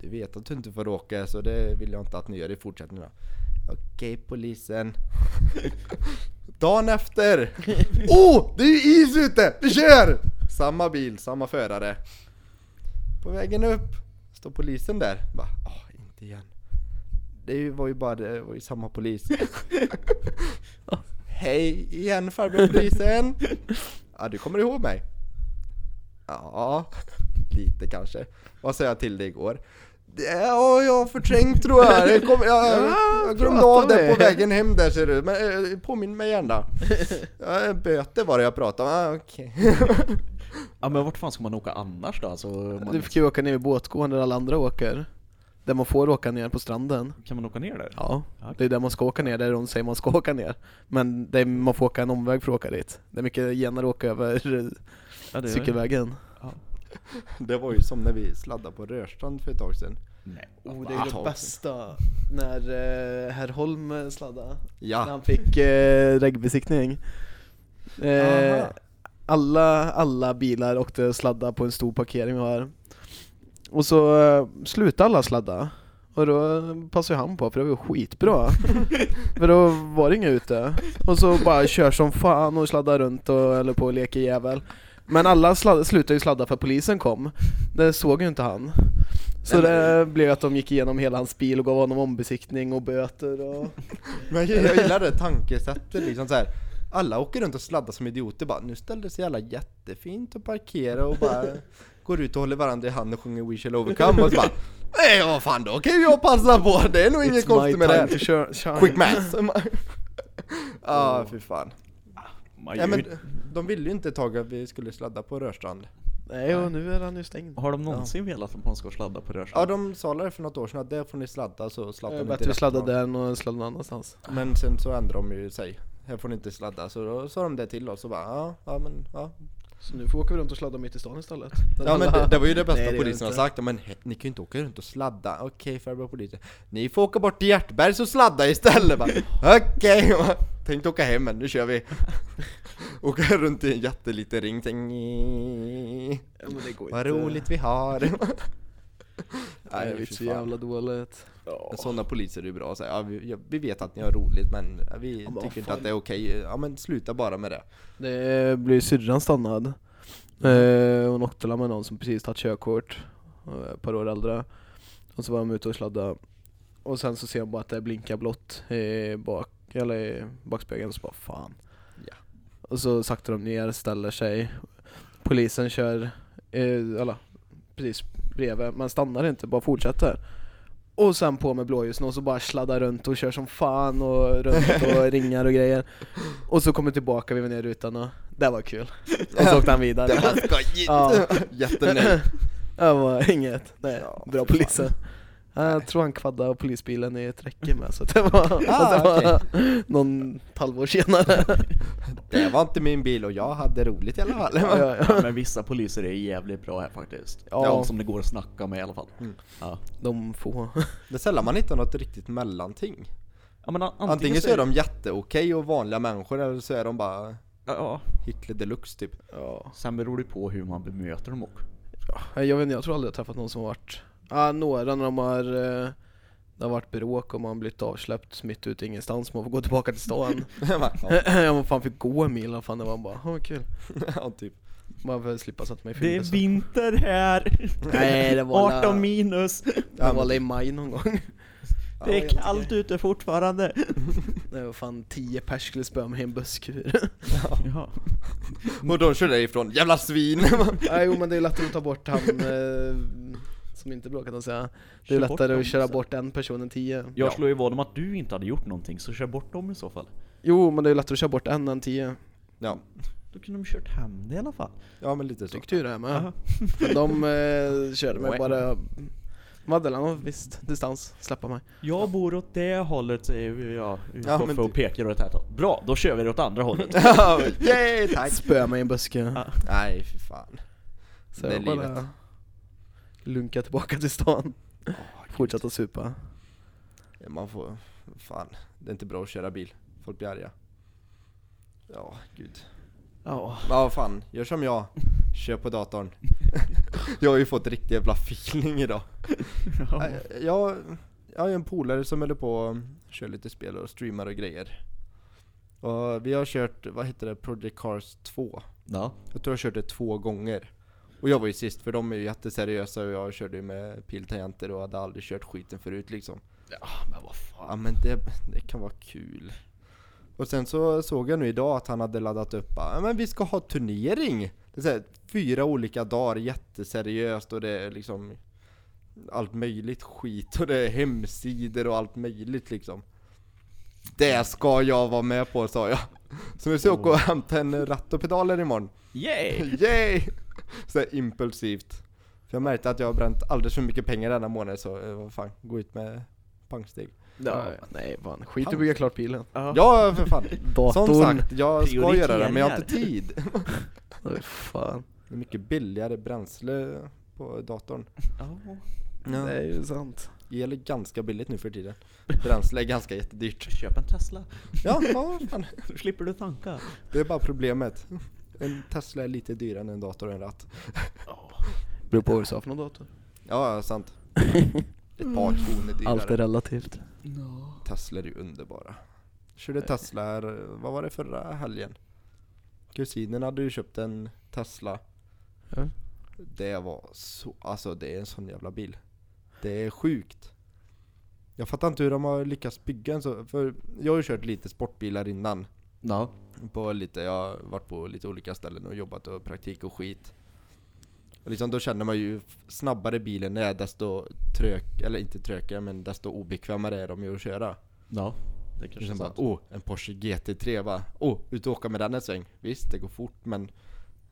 Speaker 2: Du vet att du inte får åka så det vill jag inte att ni gör i fortsättningen. då." Okej polisen. Dagen efter! Åh! Oh, det är ju is ute! Vi kör! Samma bil, samma förare. På vägen upp står polisen där. Bara, åh, inte igen. Det är ju- var ju bara det var ju samma polis. Hej igen farbror polisen! Ja, du kommer ihåg mig? Ja, lite kanske. Vad sa jag till dig igår? Ja, jag har förträngt tror jag. Det kom, jag, jag glömde
Speaker 1: prata
Speaker 2: av det
Speaker 1: med.
Speaker 2: på vägen hem där ser du. Men eh, påminn mig gärna. Ja, Böter var det jag pratade om. Ah, okej.
Speaker 3: Ja men vart fan ska man åka annars då? Alltså, man,
Speaker 1: Du kan ju åka ner vid båtgården där alla andra åker. Där man får åka ner på stranden.
Speaker 3: Kan man åka ner där?
Speaker 1: Ja,
Speaker 3: Ja.
Speaker 1: det är där man ska åka ner, där de säger man ska åka ner. Men det är, man får åka en omväg för att åka dit. Det är mycket genare att åka över eh,
Speaker 3: Ja, det är-
Speaker 1: cykelvägen.
Speaker 2: Det var ju som när vi sladdade på Rörstrand för ett tag sedan.
Speaker 3: Nej.
Speaker 1: Oh, det är ju det
Speaker 2: Wow.
Speaker 1: bästa när eh, herr Holm sladdade. När
Speaker 2: Ja.
Speaker 1: han fick eh, regbesiktning. Eh,
Speaker 2: Aha.
Speaker 1: alla, alla bilar åkte sladda på en stor parkering vi har. Och så eh, slutade alla sladda. Och då passade han på för det var ju skitbra. för då var det inga ute. Och så bara kör som fan och sladdar runt och eller på och leker jävel. Men alla sladda, slutade ju sladda för polisen kom. Det såg ju inte han. Så det blev att de gick igenom hela hans bil och gav honom ombesiktning och böter och...
Speaker 2: Men jag, jag gillar det tankesättet liksom så här. Alla åker runt och sladdar som idioter bara Nu ställde sig alla jättefint och parkerar och bara Går ut och håller varandra i hand och sjunger We shall overcome och så bara Nej vad fan då kan ju jag passa på Det är nog inget konstigt med det här."
Speaker 1: to shine.
Speaker 2: Quick maths! Ja, ah, fy fan.
Speaker 3: Man
Speaker 2: Ja,
Speaker 3: gör
Speaker 2: men
Speaker 3: ju-
Speaker 2: de ville ju inte ett tag att vi skulle sladda på Rörstrand.
Speaker 1: Nej, och nu är han ju stängd.
Speaker 3: Har de någonsin velat att man ska sladda på
Speaker 2: Ja,
Speaker 3: rörstrand?
Speaker 2: de sa det för något år sedan att där får ni sladda så
Speaker 1: Det
Speaker 2: sladdar
Speaker 1: är
Speaker 2: de
Speaker 1: Eh, bättre att sladda
Speaker 2: rätt gång.
Speaker 1: där än att sladda någon annanstans.
Speaker 2: Men sen så ändrade de ju sig. Här får ni inte sladda. Så då sa de det till oss och bara ja, ja men ja.
Speaker 1: Så nu får vi åka runt och sladda mitt i stan istället.
Speaker 2: Ja men det, det var ju det bästa
Speaker 1: Nej, det gör
Speaker 2: polisen har
Speaker 1: inte.
Speaker 2: sagt. Men he- ni kan ju inte åka runt och sladda. Okej farbror polisen. Ni får åka bort till Hjärtberg så sladda istället. Bara, Okej. Okay. Tänkte åka hem men nu kör vi. åka runt i en jätteliten ring. Tänk,
Speaker 1: Ja, men det går
Speaker 2: Vad
Speaker 1: inte.
Speaker 2: roligt vi har!
Speaker 1: Nej, det är
Speaker 2: fy
Speaker 1: så
Speaker 2: fan.
Speaker 1: jävla dåligt.
Speaker 2: Men Sådana poliser är ju bra att säga, ja, vi, ja, vi vet att ni har roligt men vi
Speaker 1: men vad
Speaker 2: tycker inte
Speaker 1: fan.
Speaker 2: att det är okej. Ja men sluta bara med det.
Speaker 1: Det blev syrran stannad. Eh, hon åkte med någon som precis tagit körkort, eh, ett par år äldre. Och så var de ute och sladdade. Och sen så ser hon bara att det blinkar blått i, bak, eller i backspegeln, så bara fan.
Speaker 2: Ja.
Speaker 1: Och så saktar de ner, ställer sig. Polisen kör, eh, eller precis bredvid, men stannar inte, bara fortsätter. Och sen på med blåljusen och så bara sladdar runt och kör som fan och runt och ringar och grejer. Och så kommer tillbaka, vi var ner rutan och det var kul. Och så åkte han vidare.
Speaker 2: Det var skojigt!
Speaker 1: Ja.
Speaker 2: Jättenöjd.
Speaker 1: Det var inget. Nej,
Speaker 2: Ja,
Speaker 1: bra
Speaker 2: fy
Speaker 1: polisen. Jag tror han kvaddade polisbilen i ett räcke med så att det var,
Speaker 2: Ah,
Speaker 1: att det var någon halvår senare.
Speaker 2: Det var inte min bil och jag hade roligt i alla fall.
Speaker 1: Ja, ja, ja.
Speaker 3: Ja, men vissa poliser är jävligt bra här faktiskt.
Speaker 1: Ja.
Speaker 3: De som det går att snacka med i alla fall.
Speaker 2: Mm.
Speaker 3: Ja.
Speaker 1: De få.
Speaker 2: Det är sällan man hittar något riktigt mellanting.
Speaker 3: Ja, men an- antingen,
Speaker 2: Antingen så är de jätteokej och vanliga människor eller så är de bara
Speaker 3: Ja,
Speaker 2: Hitler deluxe typ.
Speaker 1: Ja.
Speaker 3: sen beror det på hur man bemöter dem också.
Speaker 1: Jag vet inte, jag tror aldrig jag träffat någon som har varit, ah, några när de har eh, det har varit bråk och man blivit avsläppt mitt ute i ingenstans, man får gå tillbaka till stan.
Speaker 2: Jag bara,
Speaker 1: Jag man fan fick gå en mil, och fan det var bara, oh, kul.
Speaker 2: ja, typ.
Speaker 1: Man får slippa sätta mig i
Speaker 3: Det är
Speaker 1: fängelse.
Speaker 3: vinter här!
Speaker 1: Nej, det var
Speaker 3: 18 minus!
Speaker 1: Det var väl i maj någon gång.
Speaker 3: Det är kallt ute fortfarande!
Speaker 1: Det var fan 10 pers skulle spöa mig i en busskur.
Speaker 3: Ja.
Speaker 2: Och de kör därifrån, jävla svin!
Speaker 1: Ja, jo men det är lättare att ta bort han eh, som inte bråkat att säga. Det är
Speaker 3: Kör bort
Speaker 1: lättare
Speaker 3: dem,
Speaker 1: att köra
Speaker 3: så.
Speaker 1: bort en person än tio.
Speaker 3: Jag slår ju vad om att du inte hade gjort någonting, så kör bort dem i så fall.
Speaker 1: Jo men det är lättare att köra bort en än tio.
Speaker 2: Ja,
Speaker 3: Då kunde de kört hem det i alla fall.
Speaker 2: ja men lite så.
Speaker 1: Tyckte ju det här med.
Speaker 3: Aha.
Speaker 1: Men de eh, körde mig
Speaker 3: Wow.
Speaker 1: bara Madeleine har visst distans, släppa mig.
Speaker 3: Jag bor åt det hållet säger vi, ja.
Speaker 2: Ja, men
Speaker 3: Koffe och
Speaker 2: du-
Speaker 3: pekar åt det här hållet. Bra, då kör vi åt andra hållet.
Speaker 2: Ja, Yay, tack!
Speaker 1: Spöa mig i en buske.
Speaker 3: Ja.
Speaker 2: Nej, fy fan.
Speaker 1: Så
Speaker 2: det är
Speaker 1: jag bara
Speaker 2: livet.
Speaker 1: lunka tillbaka till stan. Fortsätta supa.
Speaker 2: Ja, Man får, fan, det är inte bra att köra bil. Folk blir arga. Ja, gud.
Speaker 3: Ja.
Speaker 2: Ja, fan, gör som jag. Kör på datorn. jag har ju fått riktig jävla feeling idag.
Speaker 3: Ja.
Speaker 2: Nej, Jag, jag har ju en polare som håller på och kör lite spel och streamar och grejer. Och vi har kört, vad heter det, Project Cars 2.
Speaker 3: ja.
Speaker 2: Jag tror jag kört det två gånger. Och jag var ju sist för de är ju jätteseriösa och jag körde ju med piltangenter och hade aldrig kört skiten förut liksom.
Speaker 3: men
Speaker 2: Ja
Speaker 3: vad fan.
Speaker 2: men det, det kan vara kul. Och sen så såg jag nu idag att han hade laddat upp bara, "Ja, men vi ska ha turnering! Det är så här, fyra olika dagar, jätteseriöst och det är liksom allt möjligt skit och det är hemsidor och allt möjligt liksom. Det ska jag vara med på sa jag. Så vi ska åka och hämta en ratt och pedaler imorgon.
Speaker 3: Yay!
Speaker 2: Yay! Så här impulsivt. För jag märkte att jag har bränt alldeles för mycket pengar denna månad så eh, vad fan, gå ut med pangsteg.
Speaker 3: Ja.
Speaker 1: Nej fan, skit i att bygga klart pilen.
Speaker 3: Ja.
Speaker 2: Ja för fan! Som sagt, jag ska göra det men jag har
Speaker 3: Prioriteringar.
Speaker 2: inte tid.
Speaker 1: Nej, fan.
Speaker 2: Det är mycket billigare bränsle på datorn.
Speaker 3: Ja.
Speaker 1: Det är ju sant.
Speaker 2: El är ganska billigt nu för tiden. Bränsle är ganska jättedyrt.
Speaker 3: Köp en Tesla,
Speaker 2: Ja, ja fan.
Speaker 3: så slipper du tanka.
Speaker 2: Det är bara problemet. En Tesla är lite dyrare än en dator och en ratt.
Speaker 1: Beror på vad du sa för någon dator.
Speaker 2: Ja, ja, sant. Ett par kronor dyrare.
Speaker 1: Allt är relativt.
Speaker 2: Tesla är ju underbara. Körde Tesla, här, vad var det förra helgen? Kusinen hade ju köpt en Tesla.
Speaker 1: Ja.
Speaker 2: Det var så, alltså det är en sån jävla bil. Det är sjukt. Jag fattar inte hur de har lyckats bygga en så, för jag har ju kört lite sportbilar innan.
Speaker 3: Ja.
Speaker 2: på lite, jag har varit på lite olika ställen och jobbat och praktik och skit. Och liksom då känner man ju, f- snabbare bilen är desto trök, eller inte trökigare men desto obekvämare är de ju att köra.
Speaker 3: Ja. Det kanske är
Speaker 2: Liksom bara,
Speaker 3: sant.
Speaker 2: oh, en Porsche GT3 bara, oh, ut och åka med den en sväng. Visst, det går fort men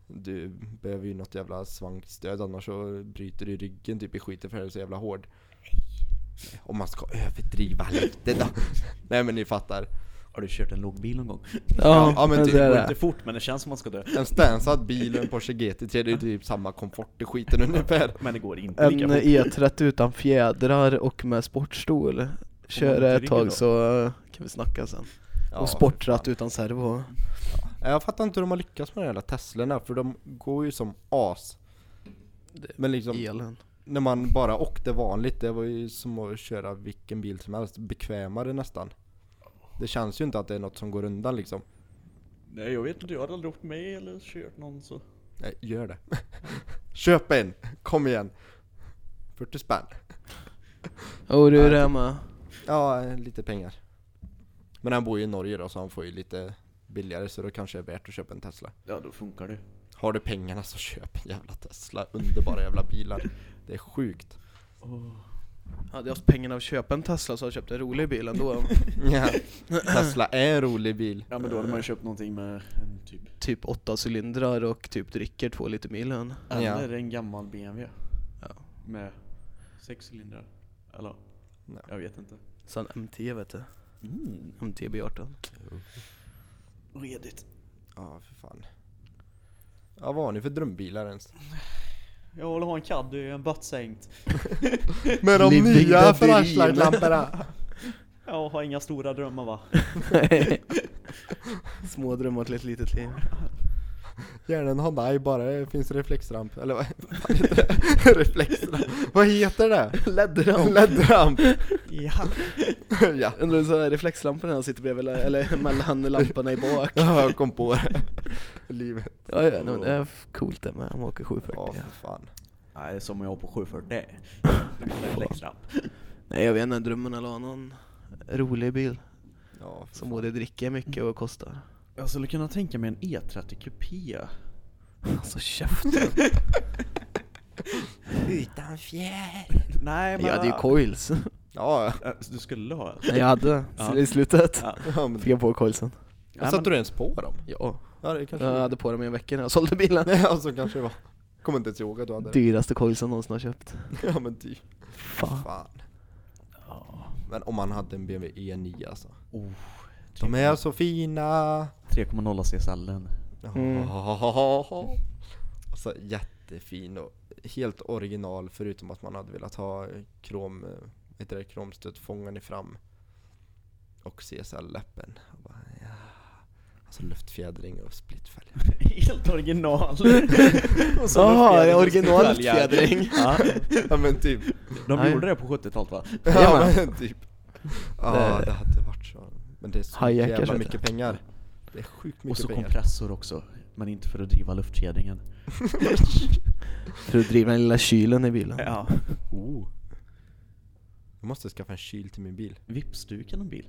Speaker 2: du behöver ju något jävla svankstöd annars så bryter du ryggen typ i skiten för den är så jävla hård. Om man ska överdriva lite då. Nej men ni fattar.
Speaker 3: Har du kört en lågbil någon gång?
Speaker 2: Ja, ja, men typ,
Speaker 1: det är
Speaker 3: Det går
Speaker 1: det.
Speaker 3: inte fort men det känns som man ska dö.
Speaker 2: En stansad bil och en Porsche GT3, det är ju typ samma komfort i skiten ungefär.
Speaker 3: Men det går inte
Speaker 1: En
Speaker 3: lika fort.
Speaker 1: E30 utan fjädrar och med sportstol. Kör
Speaker 3: inte
Speaker 1: det ett
Speaker 3: ryggen
Speaker 1: tag
Speaker 3: då?
Speaker 1: så eh, kan vi snacka sen.
Speaker 2: Ja,
Speaker 1: Och sportratt utan servo.
Speaker 2: Nej, Jag fattar inte hur de har lyckats med de jävla Teslorna, för de går ju som as.
Speaker 1: Det-
Speaker 2: Men liksom,
Speaker 1: Elen.
Speaker 2: när man bara åkte vanligt, det var ju som att köra vilken bil som helst, bekvämare nästan. Det känns ju inte att det är något som går undan liksom.
Speaker 3: Nej jag vet inte, jag har aldrig åkt med eller kört någon så.
Speaker 2: Nej, gör det. Köp en! Kom igen! 40 spänn.
Speaker 1: Och du är det med.
Speaker 2: Ja, lite pengar. Men han bor ju i Norge då, så han får ju lite billigare, så då kanske det är värt att köpa en Tesla.
Speaker 3: Ja då funkar det.
Speaker 2: Har du pengarna så köp en jävla Tesla, underbara jävla bilar. Det är sjukt.
Speaker 1: Hade jag haft pengarna att köpa en Tesla så hade jag köpt en rolig bil ändå.
Speaker 2: Ja. Tesla är en rolig bil.
Speaker 3: Ja men då hade man ju köpt någonting med en typ.
Speaker 1: typ åtta cylindrar och typ dricker två liter milen.
Speaker 2: Ja.
Speaker 3: Eller en gammal BMW.
Speaker 1: Ja.
Speaker 3: Med sex cylindrar. Eller?
Speaker 2: Nej.
Speaker 3: Jag vet inte.
Speaker 1: Sen MT vet du.
Speaker 3: Mm.
Speaker 1: MT B18.
Speaker 3: Redigt.
Speaker 2: Ja, för fan. Ja, vad har ni för drömbilar ens?
Speaker 3: Jag vill ha en Caddy, en buttsaint.
Speaker 2: Med
Speaker 1: de Living nya the flashlight-lamporna.
Speaker 3: Jag har inga stora drömmar va?
Speaker 1: Små drömmar till ett litet liv.
Speaker 2: Gärna en Hyundai bara, det finns reflexramp. Eller vad vad heter det? Reflexramp. Vad heter det?
Speaker 1: LED-ramp.
Speaker 2: LED-ramp.
Speaker 3: Ja.
Speaker 2: ja.
Speaker 1: Undrar så här reflexlamporna han sitter bredvid, eller- eller mellan lamporna i bak.
Speaker 2: ja, jag kom på det. Livet.
Speaker 1: Ja, ja, nej, men det är f- coolt det med, han åker
Speaker 2: Ja,
Speaker 1: 740. Ja.
Speaker 2: för fan.
Speaker 3: Nej, det är som jag har på 740. Reflexramp.
Speaker 1: Nej jag vet inte, drömmen eller annan rolig bil
Speaker 2: Ja, för
Speaker 1: som både dricker mycket och kostar.
Speaker 3: Jag skulle kunna tänka mig en E E30 kupé.
Speaker 1: Alltså käften.
Speaker 2: Utan fjär.
Speaker 3: Nej men...
Speaker 1: Jag hade ju coils.
Speaker 2: Ja,
Speaker 3: Äh, Du skulle ha?
Speaker 1: Nej, jag hade,
Speaker 3: Ja.
Speaker 1: i slutet.
Speaker 3: Ja.
Speaker 2: ja men...
Speaker 1: Fick jag på coilsen.
Speaker 3: Nej,
Speaker 2: Satte
Speaker 3: men
Speaker 2: du ens på dem?
Speaker 1: Ja,
Speaker 2: Ja, det kanske
Speaker 1: jag hade på dem i en vecka när jag sålde bilen.
Speaker 2: Nej, alltså kanske det var. Kommer inte ens ihåg att du hade det.
Speaker 1: Dyraste coilsen någonsin har köpt.
Speaker 2: Ja men ty.
Speaker 1: Fan.
Speaker 2: Fan.
Speaker 3: Ja.
Speaker 2: Men om man hade en BMW E9 alltså.
Speaker 3: Oh,
Speaker 1: Typ.
Speaker 2: De är så fina.
Speaker 3: 3,0 CSL-en.
Speaker 1: Mm.
Speaker 2: Alltså jättefin och helt original förutom att man hade velat ha krom, eh, vad heter det, kromstötfångaren i fram. Och CSL-läppen. Och bara, Ja. Alltså luftfjädring och splitfälgar.
Speaker 3: Helt original! Och så
Speaker 1: Jaha,
Speaker 3: luftfjädring och
Speaker 1: original
Speaker 3: fälgar.
Speaker 1: luftfjädring.
Speaker 3: Ja.
Speaker 2: Ja men typ.
Speaker 3: De
Speaker 1: Nej.
Speaker 3: gjorde det på 70-talet va?
Speaker 2: Ja men typ. Ja
Speaker 1: Det-
Speaker 2: det hade varit så. Men det är så
Speaker 1: Hijackar,
Speaker 2: jävla
Speaker 1: så heter
Speaker 2: mycket pengar. Det är sjukt
Speaker 3: Och
Speaker 2: mycket
Speaker 3: så
Speaker 2: pengar.
Speaker 3: kompressor också. Men inte för att driva luftkedringen.
Speaker 1: För att driva den lilla kylen i bilen.
Speaker 3: Ja. Oh.
Speaker 2: Jag måste skaffa en kyl till min bil.
Speaker 3: Vippsduken en bil.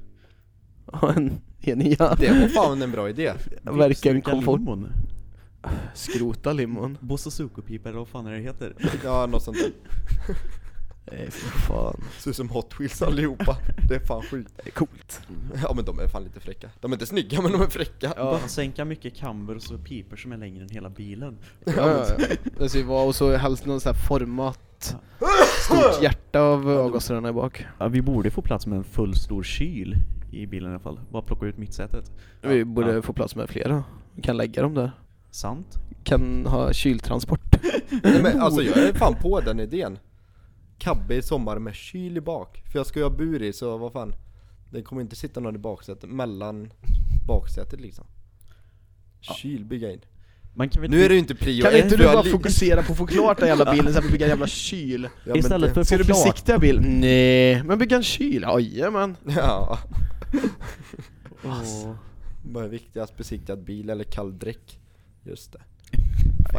Speaker 1: Och en E9.
Speaker 2: Det var fan en bra idé.
Speaker 1: Verkar en
Speaker 3: Vippsdukad
Speaker 1: komfort.
Speaker 3: limon.
Speaker 1: Skrota limon.
Speaker 3: Bosse Sukopipa eller vad fan är det heter?
Speaker 2: Ja, något sånt där.
Speaker 1: Nej för fan.
Speaker 2: Ser ut som Hot Wheels allihopa. Det är fan sjukt.
Speaker 1: Det är coolt.
Speaker 2: Ja men de är fan lite fräcka. De är inte snygga men de är fräcka.
Speaker 3: Bara sänka mycket kamber och så piper som är längre än hela bilen.
Speaker 1: Ja, ja, ja. Det ska ju vara, och så helst någon sån här format. Stort hjärta av avgasrörarna i bak.
Speaker 3: Ja, vi borde få plats med en full stor kyl i bilen i alla fall. Bara plocka ut mittsätet.
Speaker 1: Vi borde få plats med flera. Vi kan lägga dem där.
Speaker 3: Sant?
Speaker 1: Kan ha kyltransport.
Speaker 2: Nej, men alltså jag är fan på den idén. Cabbe i sommar med kyl i bak. För jag ska ju ha bur i så vad fan. Det kommer inte sitta någon i baksätet, mellan baksätet liksom. Kyl bygga in.
Speaker 3: Man kan väl
Speaker 2: Nu är det ju inte prio
Speaker 1: Kan
Speaker 2: ett,
Speaker 1: inte
Speaker 2: för
Speaker 1: du
Speaker 2: jag
Speaker 1: bara
Speaker 2: li-
Speaker 1: fokusera på att få klart den jävla bilen så att vi bygger en jävla kyl?
Speaker 2: Ja, men
Speaker 3: Istället
Speaker 2: det-
Speaker 3: för
Speaker 1: Ska du
Speaker 3: att få klart
Speaker 1: besiktiga bil? Nej, men bygga en kyl? Jajamän!
Speaker 2: Ja,
Speaker 3: och
Speaker 2: vad är viktigast? Besiktad bil eller kall dräck? Just det.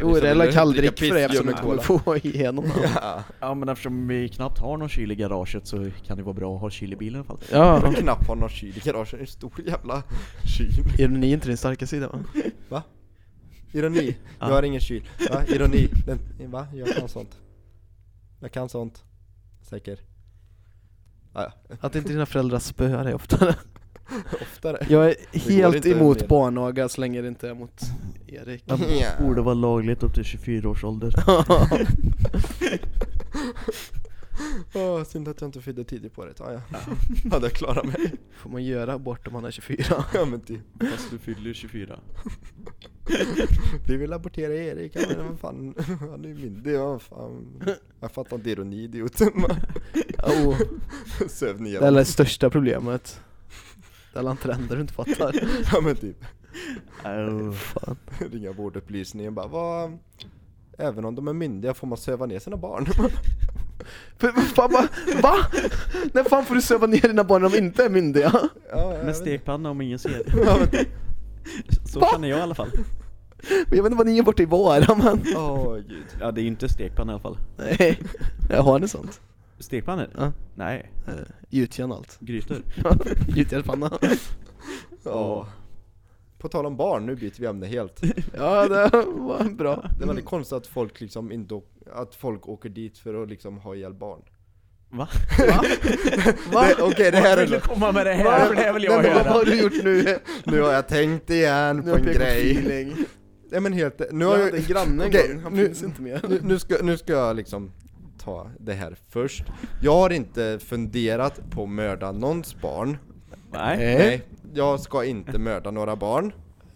Speaker 1: Jo, det är väl kalldrick för det eftersom
Speaker 2: som
Speaker 1: du kommer få igenom den.
Speaker 2: Ja,
Speaker 3: Ja men eftersom vi knappt har någon kyl i garaget så kan det vara bra att ha kyl i bilen i alla fall.
Speaker 1: Ja,
Speaker 2: jag knappt har någon kyl i garaget, en stor jävla kyl.
Speaker 1: ironi är inte din starka sida va?
Speaker 2: Va? Ironi? Jag har ingen kyl. Va? Ironi? Den, va? Jag kan sånt. Jag kan sånt. Säker. Ah, ja.
Speaker 1: Att inte dina föräldrar spöar dig oftare.
Speaker 2: Oftare.
Speaker 1: Jag är
Speaker 2: går
Speaker 1: helt
Speaker 2: inte
Speaker 1: emot
Speaker 2: mer.
Speaker 1: barnaga så länge det inte är mot Erik.
Speaker 2: Ja.
Speaker 3: Borde vara lagligt upp till 24 års ålder.
Speaker 2: Åh, synd att jag inte fyllde tidigt på det. Ah, ja. Hade jag klarat mig.
Speaker 1: Får man göra abort om man är 24?
Speaker 2: Ja, men typ.
Speaker 3: Fast du fyller ju 24.
Speaker 2: Vi vill abortera Erik, ja, men vad fan, han är ju min, det var fan. Jag fattar inte ironi idioten.
Speaker 1: Oh,
Speaker 2: Söv
Speaker 1: det är
Speaker 2: ner
Speaker 1: det största problemet. Det är alla trender du inte fattar.
Speaker 2: Ja men typ,
Speaker 1: Fan.
Speaker 2: ringa vårdupplysningen bara, vad, även om de är myndiga får man söva ner sina barn.
Speaker 1: För- för Fan, va? va? När fan får du söva ner dina barn när de inte är myndiga?
Speaker 2: Ja, jag
Speaker 3: Med
Speaker 2: vet
Speaker 3: stekpanna om ingen ser.
Speaker 2: Ja, men typ.
Speaker 3: Så känner jag i alla fall.
Speaker 1: Men Jag vet inte vad ni gör borta i våra men...
Speaker 2: Åh gud.
Speaker 3: Ja det är inte stekpanna i alla fall.
Speaker 1: Nej, jag har ni sånt?
Speaker 3: Stekpannor?
Speaker 1: Ja.
Speaker 3: Nej,
Speaker 1: Eh, Gjutjärn och allt.
Speaker 3: grytor.
Speaker 1: Gjutjärnspanna.
Speaker 2: Ja. På tal om barn, nu byter vi ämne helt.
Speaker 1: Ja, det var bra.
Speaker 2: Det är väldigt konstigt att folk liksom inte, att folk åker dit för att liksom ha ihjäl barn.
Speaker 3: Va?
Speaker 1: Va?
Speaker 2: Det- Okej det här är...
Speaker 3: komma med det
Speaker 2: Va? Nej, men
Speaker 1: Vad
Speaker 2: vad-
Speaker 1: har du gjort nu?
Speaker 2: Nu har jag tänkt igen
Speaker 1: Nu
Speaker 2: på
Speaker 1: har
Speaker 2: en
Speaker 1: jag
Speaker 2: grej.
Speaker 1: feeling.
Speaker 2: Ja men helt, nu
Speaker 1: Jag
Speaker 2: har
Speaker 1: hade
Speaker 2: jag...
Speaker 1: en granne en
Speaker 2: Okej,
Speaker 1: gång, han
Speaker 2: nu-
Speaker 1: finns inte mer.
Speaker 2: Nu, nu, ska, nu ska jag liksom ta det här först. Jag har inte funderat på att mörda någons barn.
Speaker 3: Nej.
Speaker 2: Nej, jag ska inte mörda några barn.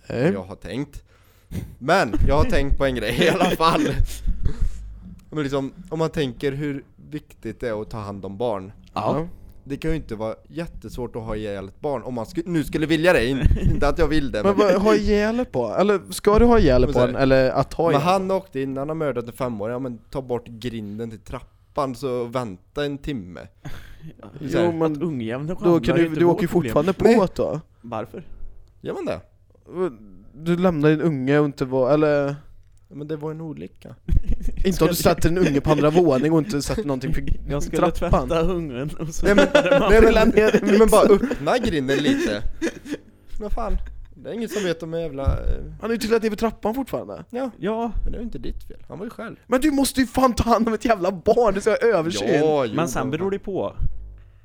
Speaker 1: Nej.
Speaker 2: Jag har tänkt. Men jag har tänkt på en grej i alla fall. Men liksom, om man tänker hur viktigt det är att ta hand om barn.
Speaker 3: Ja.
Speaker 2: Det kan ju inte vara jättesvårt att ha ihjäl ett barn om man sku, nu skulle vilja det. In, inte att jag vill det.
Speaker 1: Men
Speaker 2: Men,
Speaker 1: vad, ha ihjäl på? Eller ska du ha ihjäl
Speaker 2: Men
Speaker 1: på
Speaker 2: så här-
Speaker 1: en? Eller att ha
Speaker 2: men
Speaker 1: ihjäl?
Speaker 2: han åkte in, han har mördat en femåring. Ja men ta bort grinden till trappan så vänta en timme. så här.
Speaker 1: Jo men då
Speaker 3: Ungjämna
Speaker 1: kan du, du åker ju fortfarande
Speaker 2: Nej.
Speaker 1: på då.
Speaker 3: Varför?
Speaker 2: Gör man det?
Speaker 1: Du lämnar din unge och inte var, eller?
Speaker 2: Men det var en olycka.
Speaker 1: Inte om du
Speaker 3: Skulle-
Speaker 1: sätter en unge på andra våning och inte sätter någonting för
Speaker 3: Jag skulle
Speaker 1: trappan.
Speaker 3: tvätta ungen och så...
Speaker 2: Nej men, nej,
Speaker 1: Rulla
Speaker 2: men,
Speaker 1: ner i
Speaker 2: nej, men bara öppna grinden lite. Vad fan. Det är ingen som vet om jag jävla... eh,
Speaker 1: Han är ju trillat ner för trappan fortfarande.
Speaker 2: Ja,
Speaker 3: Ja,
Speaker 2: men det är ju inte ditt fel. Han var ju själv.
Speaker 1: Men du måste ju fan ta hand om ett jävla barn, du ska ha översyn. Ja.
Speaker 2: jo,
Speaker 3: men sen beror det på.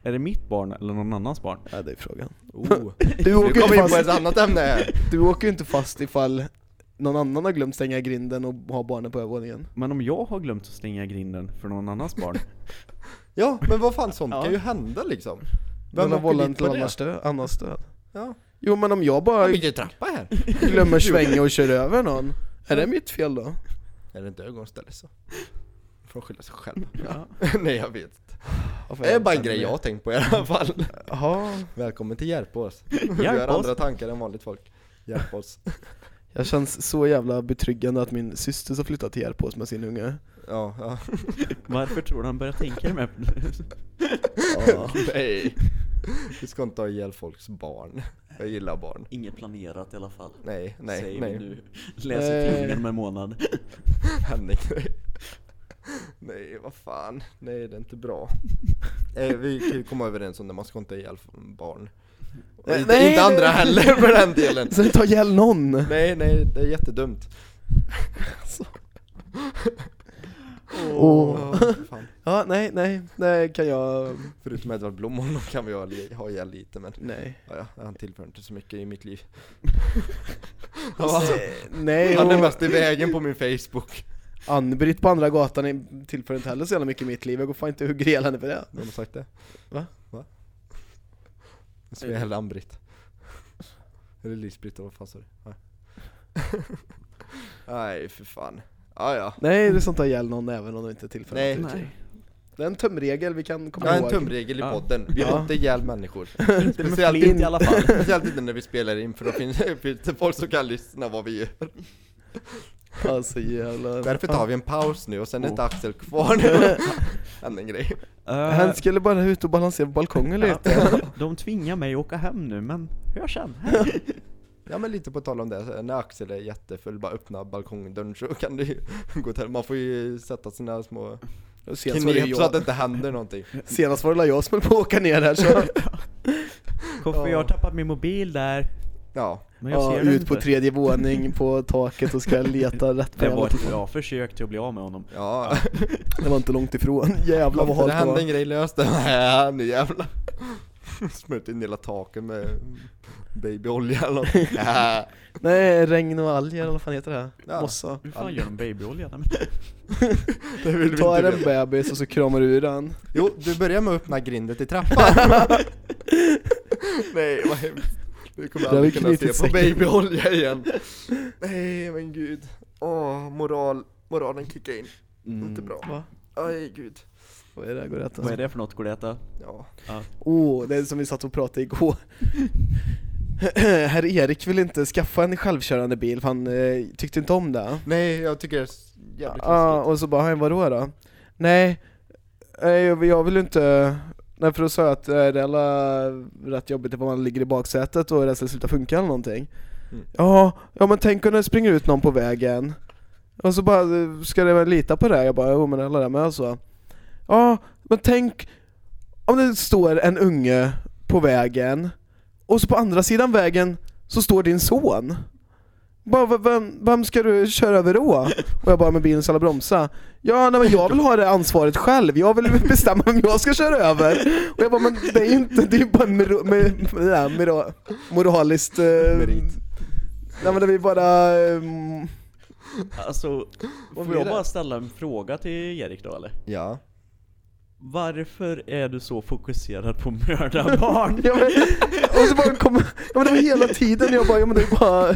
Speaker 3: Är det mitt barn eller någon annans barn?
Speaker 1: ja, det är frågan.
Speaker 2: Oh.
Speaker 1: Du
Speaker 2: Nu
Speaker 1: åker,
Speaker 2: kommer
Speaker 1: ju
Speaker 2: vi in på ett
Speaker 1: fast,
Speaker 2: annat ämne här.
Speaker 1: du åker ju inte fast ifall någon annan har glömt stänga grinden och ha barnen på övervåningen.
Speaker 3: Men om jag har glömt att stänga grinden för någon annans barn?
Speaker 2: Ja, men vad fan, sånt
Speaker 3: Ja.
Speaker 2: kan ju hända liksom.
Speaker 1: Vem har
Speaker 2: åker
Speaker 1: vållat
Speaker 2: dit
Speaker 1: till
Speaker 2: för det?
Speaker 1: annans död? Annans död?
Speaker 2: Ja.
Speaker 1: Jo men om jag bara
Speaker 2: Jag byter trappa här.
Speaker 1: glömmer svänga och kör över någon, är det mitt fel då?
Speaker 2: Är det inte ögonställe så? Får skylla sig själv.
Speaker 3: Ja.
Speaker 2: nej, jag vet. Det är bara en grej jag har tänkt på i alla fall.
Speaker 1: Jaha,
Speaker 2: Välkommen till Hjälpås. Vi har
Speaker 3: Hjälp oss!
Speaker 2: andra tankar än vanligt folk. Hjälp oss.
Speaker 1: jag känns så jävla betryggande att min syster ska flytta till Järpås med sin unge.
Speaker 2: Ja, ja.
Speaker 3: Varför tror du han börjar tänka de här...
Speaker 1: Ja.
Speaker 2: Nej. Vi ska inte ha ihjäl folks barn. Jag gillar barn.
Speaker 3: Inget planerat i alla fall.
Speaker 2: Nej, nej,
Speaker 3: Säger
Speaker 2: nej.
Speaker 3: vi nu. Läser
Speaker 1: Nej.
Speaker 3: tidningen om en månad.
Speaker 2: Henrik. nej. Nej, vad fan. Nej, det är inte bra. Nej, Eh, vi kan ju komma överens om det. Man ska inte ha ihjäl barn. Och
Speaker 1: Nej,
Speaker 2: inte,
Speaker 1: nej,
Speaker 2: inte
Speaker 1: nej.
Speaker 2: andra heller för den delen.
Speaker 1: Så ta ihjäl någon!
Speaker 2: Nej, nej, det är jättedumt.
Speaker 1: Åh.
Speaker 2: Åh, fan.
Speaker 1: Ja, nej, nej, nej kan jag...
Speaker 2: Förutom Edvard Blom, honom kan vi ha, li- ha ihjäl lite men
Speaker 1: Nej.
Speaker 2: ja, ja, han tillför inte så mycket i mitt liv Han
Speaker 1: Alltså,
Speaker 2: var-
Speaker 1: nej,
Speaker 2: Han är
Speaker 1: och
Speaker 2: mest i vägen på min Facebook
Speaker 1: Ann-Britt på andra gatan är- tillför inte heller så jävla mycket i mitt liv, jag går fan inte och hugger ihjäl henne för det.
Speaker 2: Vem har sagt det?
Speaker 1: Va?
Speaker 2: Va? Nu ska jag hellre Ann-Britt Eller Lis-Britt, eller vad fan sa du? Nej. Nej för fan ah, ja.
Speaker 1: Nej, det ska inte ha ihjäl någon även om de inte tillför
Speaker 2: Nej.
Speaker 1: något.
Speaker 3: Nej.
Speaker 1: Det är en tumregel vi kan komma
Speaker 2: Jag har en
Speaker 1: ihåg.
Speaker 2: tumregel i
Speaker 3: Ja.
Speaker 2: podden, vi
Speaker 1: Ja.
Speaker 2: har inte ihjäl människor
Speaker 3: Inte med
Speaker 2: Speciellt
Speaker 3: flint
Speaker 1: in-
Speaker 3: i alla fall.
Speaker 2: Speciellt inte när vi spelar in för då finns, finns det folk som kan lyssna vad vi gör
Speaker 1: Alltså jävlar.
Speaker 2: Därför tar vi en paus nu och sen är inte Axel kvar nu Han är en Oh. grej
Speaker 3: Eh,
Speaker 1: Han skulle bara ut och balansera på balkongen lite.
Speaker 3: ja, de tvingar mig att åka hem nu, men hör sen. Hej.
Speaker 2: Ja men lite på tal om det, så när Axel är jättefull, bara öppna balkongdörren så kan det ju gå till Man får ju sätta sina små
Speaker 1: Och Senast var, det
Speaker 2: knep så att det
Speaker 1: jag,
Speaker 2: inte händer någonting
Speaker 1: senast var det jag som höll på att åka ner här så.
Speaker 3: Koffe, jag har tappat min mobil där.
Speaker 2: Ja,
Speaker 3: Men jag
Speaker 1: Ja,
Speaker 3: ser den
Speaker 1: ut
Speaker 3: inte.
Speaker 1: på tredje våning på taket och ska leta rätt på
Speaker 3: Det var
Speaker 1: jävla
Speaker 3: ett
Speaker 1: telefon.
Speaker 3: bra försök till att bli av med honom.
Speaker 2: ja
Speaker 1: Det var inte långt ifrån. Jävlar vad
Speaker 2: Om det
Speaker 1: halt det
Speaker 2: hände
Speaker 1: var.
Speaker 2: en grej, lös det! Nej, nu jävlar Smörjt in hela taket med babyolja eller något Ja.
Speaker 1: Nej, regn och alger eller vad fan heter det?
Speaker 2: Ja.
Speaker 1: Mossa.
Speaker 3: Hur fan gör de babyolja? Nej, men-
Speaker 2: Det vill vi
Speaker 1: Tar
Speaker 2: inte
Speaker 1: en
Speaker 2: veta
Speaker 1: bebis och så kramar du ur den.
Speaker 2: Jo, du börjar med att öppna grinden till trappan Nej, vad hemskt Du kommer
Speaker 1: Där har
Speaker 2: aldrig
Speaker 1: vi
Speaker 2: kunna se
Speaker 1: knutit
Speaker 2: på
Speaker 1: säcken.
Speaker 2: babyolja igen Nej men gud Åh, moral, moralen kickar in Inte bra.
Speaker 1: Mm. Va?
Speaker 2: Aj gud.
Speaker 1: Vad är det? här? Går det att äta?
Speaker 3: Vad är det för något? Går det att äta?
Speaker 2: Ja.
Speaker 1: Åh, det är som vi satt och pratade igår. Herr Erik vill inte skaffa en självkörande bil för han eh, tyckte inte om det.
Speaker 2: Nej, jag tycker det är s- jävligt
Speaker 1: Ja,
Speaker 2: ah,
Speaker 1: och så bara, "Hej, vadå då? Nej, eh, jag jag vill inte... Nej för då sa jag att eh, det är alla rätt jobbigt om man ligger i baksätet och det ska sluta funka eller någonting.
Speaker 2: Mm.
Speaker 1: Ja, ja men tänk om det springer ut någon på vägen. Och så bara, eh, ska det väl lita på det? här?" Jag bara, jo men alla där med och så. alltså." Ja, men tänk om det står en unge på vägen och så på andra sidan vägen så står din son. Bara, "V- vem, vem ska du köra över då? Och jag bara, med bilen så alla bromsa. Ja, nej, men jag vill ha det ansvaret själv. Jag vill bestämma vem jag ska köra över. Och jag bara, men det är inte, det är bara en mero, med, med, det här, mero, moraliskt... Eh,
Speaker 2: Merit.
Speaker 1: Nej men det är bara... ehm,
Speaker 3: Alltså, får
Speaker 1: blir
Speaker 3: jag
Speaker 1: det?
Speaker 3: bara ställa en fråga till Erik då eller?
Speaker 2: Ja.
Speaker 3: Varför är du så fokuserad på att mörda barn?
Speaker 1: ja, men, och så bara kom, ja, men det var hela tiden jag bara, ja men det är bara...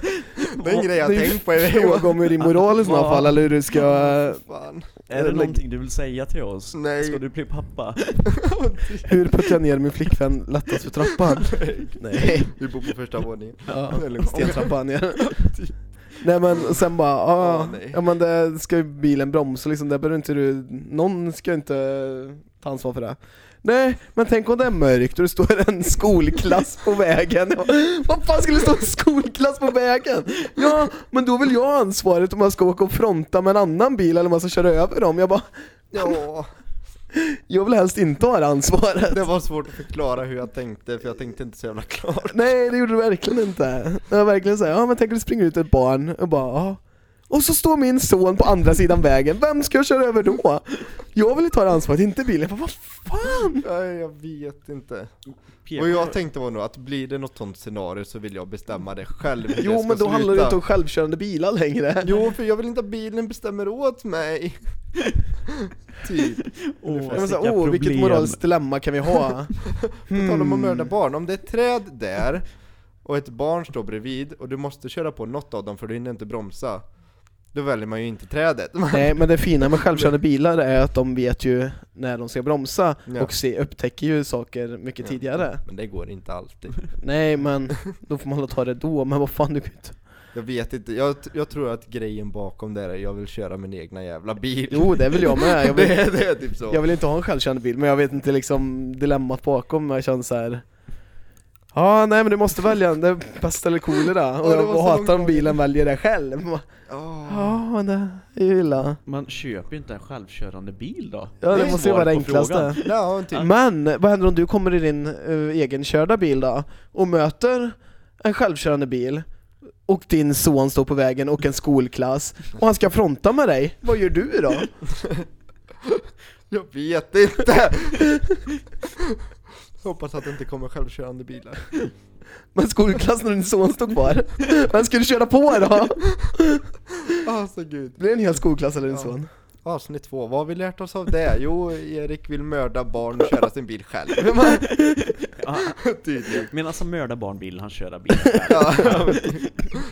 Speaker 2: Det är en grej jag
Speaker 1: det är ju
Speaker 2: tänkt på i
Speaker 1: Fråga om hur din moral i sådana fall, eller hur du ska...
Speaker 2: Fan.
Speaker 3: är det någonting du vill säga till oss?
Speaker 2: Nej.
Speaker 3: Ska du bli pappa?
Speaker 1: Hur puttar jag ner min flickvän lättast för trappan? Nej.
Speaker 2: Vi bor på första våningen.
Speaker 1: Ja,
Speaker 2: Det är lugnt.
Speaker 1: stentrappan ja. Nej men och sen bara, ja,
Speaker 2: Ja, nej.
Speaker 1: ja men det ska ju bilen bromsa liksom, där behöver inte du, någon ska inte ta ansvar för det. Nej, men tänk om det är mörkt och det står en skolklass på vägen. Jag bara, Vad fan skulle det stå en skolklass på vägen? Ja, men då vill jag ha ansvaret om man ska åka och fronta med en annan bil eller om man ska köra över dem. Jag bara,
Speaker 2: Ja,
Speaker 1: jag vill helst inte ha det ansvaret.
Speaker 2: det var svårt att förklara hur jag tänkte för jag tänkte inte så jävla klart.
Speaker 1: Nej det gjorde du verkligen inte. Det var verkligen såhär, ja men tänk om det springer ut ett barn och bara ja. Och så står min son på andra sidan vägen, vem ska jag köra över då? Jag vill ju ta det ansvaret, inte bilen. Jag bara, vad fan?
Speaker 2: Nej, jag vet inte.
Speaker 3: Pek-
Speaker 2: Vad jag tänkte var nog att blir det något sånt scenario så vill jag bestämma det själv hur det
Speaker 1: Jo
Speaker 2: ska
Speaker 1: men då handlar det
Speaker 2: sluta.
Speaker 1: ju inte om självkörande bilar längre.
Speaker 2: Jo, för jag vill inte att bilen bestämmer åt mig. typ.
Speaker 3: Åh,
Speaker 1: Jag
Speaker 3: vilka
Speaker 1: säga, åh vilket
Speaker 3: problem.
Speaker 1: moraliskt dilemma kan vi ha?
Speaker 2: På tal om att
Speaker 1: Hmm.
Speaker 2: mörda barn, om det är ett träd där och ett barn står bredvid och du måste köra på något av dem för du hinner inte bromsa Då väljer man ju inte trädet
Speaker 1: Nej men det fina med självkörande bilar är att de vet ju när de ska bromsa
Speaker 2: Ja.
Speaker 1: och se, upptäcker ju saker mycket
Speaker 2: Ja.
Speaker 1: tidigare.
Speaker 2: Men det går inte alltid
Speaker 1: Nej men då får man väl ta det då, men vad fan du kan ju inte
Speaker 2: Jag vet inte, jag, jag tror att grejen bakom det är jag vill köra min egna jävla bil
Speaker 1: Jo det vill jag med, jag vill
Speaker 2: det, är- det är typ så
Speaker 1: Jag vill inte ha en självkörande bil, men jag vet inte liksom dilemmat bakom, men jag känner så här. Ja, nej men du måste välja en, det är pest eller kolera, och
Speaker 2: Ja, det
Speaker 1: jag
Speaker 2: var så
Speaker 1: hatar om
Speaker 2: långt
Speaker 1: bilen väljer det själv
Speaker 2: Åh.
Speaker 1: Ja, men det är ju illa
Speaker 3: Man köper ju inte en självkörande bil då.
Speaker 1: Ja, det
Speaker 2: är
Speaker 1: måste ju vara det
Speaker 3: svaret på
Speaker 1: enklaste
Speaker 2: Ja, typ.
Speaker 1: Men, vad händer om du kommer i din uh, egenkörda bil då, och möter en självkörande bil och din son står på vägen och en skolklass och han ska fronta med dig, vad gör du då?
Speaker 2: Jag vet inte! Hoppas att det inte kommer självkörande bilar.
Speaker 1: Men skolklassen och din son stod kvar. Vem ska du köra på då?
Speaker 2: Alltså gud.
Speaker 1: Blir det en hel skolklass eller din
Speaker 2: Ja.
Speaker 1: son?
Speaker 2: Avsnitt två, vad har vi lärt oss av det? Jo, Erik vill mörda barn och köra sin bil själv.
Speaker 3: Ah,
Speaker 2: Tydligen.
Speaker 3: Medan han mördar alltså, barn vill han köra bil
Speaker 2: Ja.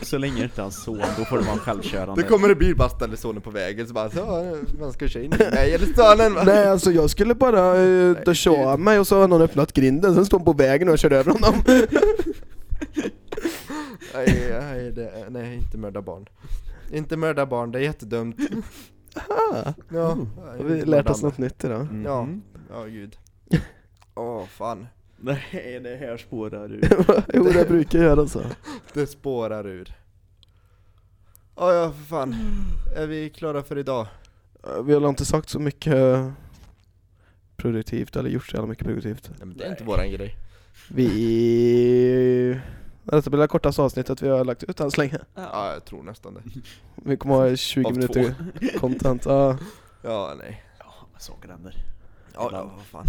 Speaker 3: Så länge inte hans son, då får det vara självkörande
Speaker 2: Det kommer en bil bara ställer sonen på vägen så bara så, man ska köra in i mig eller sonen va?
Speaker 1: Nej alltså jag skulle bara uh, duscha av mig och så har någon öppnat grinden, sen stod han på vägen och jag körde över honom.
Speaker 2: Nej, nej, det, nej, inte mörda barn. Inte mörda barn, det är jättedumt.
Speaker 1: Ah,
Speaker 2: Ja,
Speaker 1: har vi
Speaker 2: inte
Speaker 1: lärt
Speaker 2: mörda
Speaker 1: oss något Mm. nytt idag.
Speaker 3: Mhm.
Speaker 2: Ja, ja gud. Åh fan,
Speaker 3: Nej, det här spårar du
Speaker 1: jo det brukar jag göra alltså. så.
Speaker 2: det spårar ur. Ja, ja för fan. Är vi klara för idag?
Speaker 1: Eh, Vi har inte sagt så mycket eh, produktivt, eller gjort så jävla mycket produktivt.
Speaker 2: Nej, men det är inte våran grej.
Speaker 1: Vi... Detta blir det kortaste avsnittet vi har lagt ut än så länge.
Speaker 2: Ja, jag tror nästan det.
Speaker 1: Vi kommer ha 20
Speaker 2: Av två.
Speaker 1: minuter content. Ja,
Speaker 2: Ja, nej.
Speaker 3: Ja, men saker händer
Speaker 2: Ja, ja, vad fan.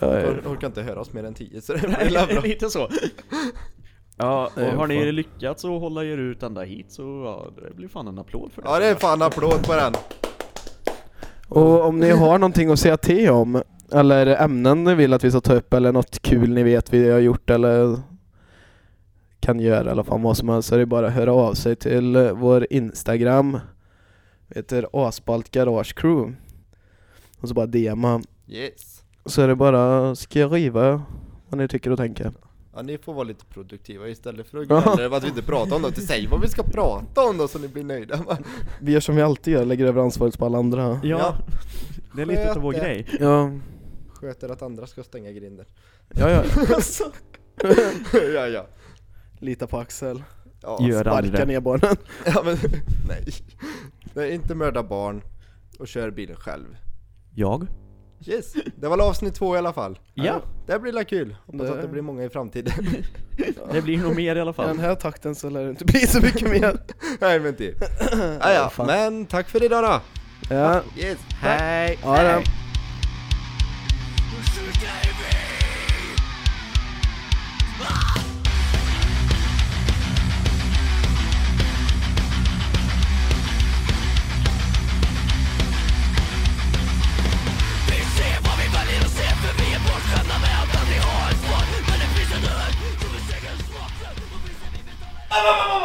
Speaker 1: jag är-
Speaker 2: Jag orkar inte höra oss mer än tio så det blir väl bra.
Speaker 3: lite så Ja, och
Speaker 1: Nej,
Speaker 3: har ni
Speaker 1: fan.
Speaker 3: lyckats att hålla er ut ända hit så ja, det blir fan en applåd för det
Speaker 2: Ja, det är fan applåd på den.
Speaker 1: Och om ni har någonting att säga till om, eller ämnen ni vill att vi ska ta upp, eller något kul ni vet vi har gjort eller kan göra eller fan vad som helst, så är det bara att höra av sig till eh, vår Instagram. Vi heter Asbalt Garage Crew. Och så bara DMa.
Speaker 2: Yes.
Speaker 1: Så är det bara att skriva vad ni tycker och tänker.
Speaker 2: Ja, ni får vara lite produktiva istället för att
Speaker 1: Ja.
Speaker 2: gnälla över att vi inte pratar om något. Säg vad vi ska prata om då så ni blir nöjda. va?
Speaker 1: Vi gör som vi alltid gör, lägger över ansvaret på alla andra.
Speaker 3: Ja, det är lite av vår
Speaker 2: Sköt det.
Speaker 3: grej
Speaker 1: Ja,
Speaker 2: Sköter att andra ska stänga grinden.
Speaker 1: ja, ja.
Speaker 2: ja, ja.
Speaker 1: Lita på Axel.
Speaker 2: ja
Speaker 3: Gör
Speaker 1: Sparka
Speaker 3: aldrig.
Speaker 1: ner barnen.
Speaker 2: Ja men, nej. Nej, inte mörda barn och kör bilen själv.
Speaker 3: Jag?
Speaker 2: Yes, det var avsnitt två i alla fall.
Speaker 3: Ja,
Speaker 2: Det blir la kul. Hoppas
Speaker 1: Det-
Speaker 2: att det blir många i framtiden.
Speaker 3: det blir nog mer i alla
Speaker 1: I den
Speaker 3: fall
Speaker 1: här takten så lär det inte bli så mycket mer.
Speaker 2: nej men typ. Ah, ja,
Speaker 1: fan.
Speaker 2: men tack för idag då.
Speaker 1: Ja,
Speaker 2: Yes, hej.
Speaker 1: ja det.
Speaker 4: Ah, ah, ah, ah.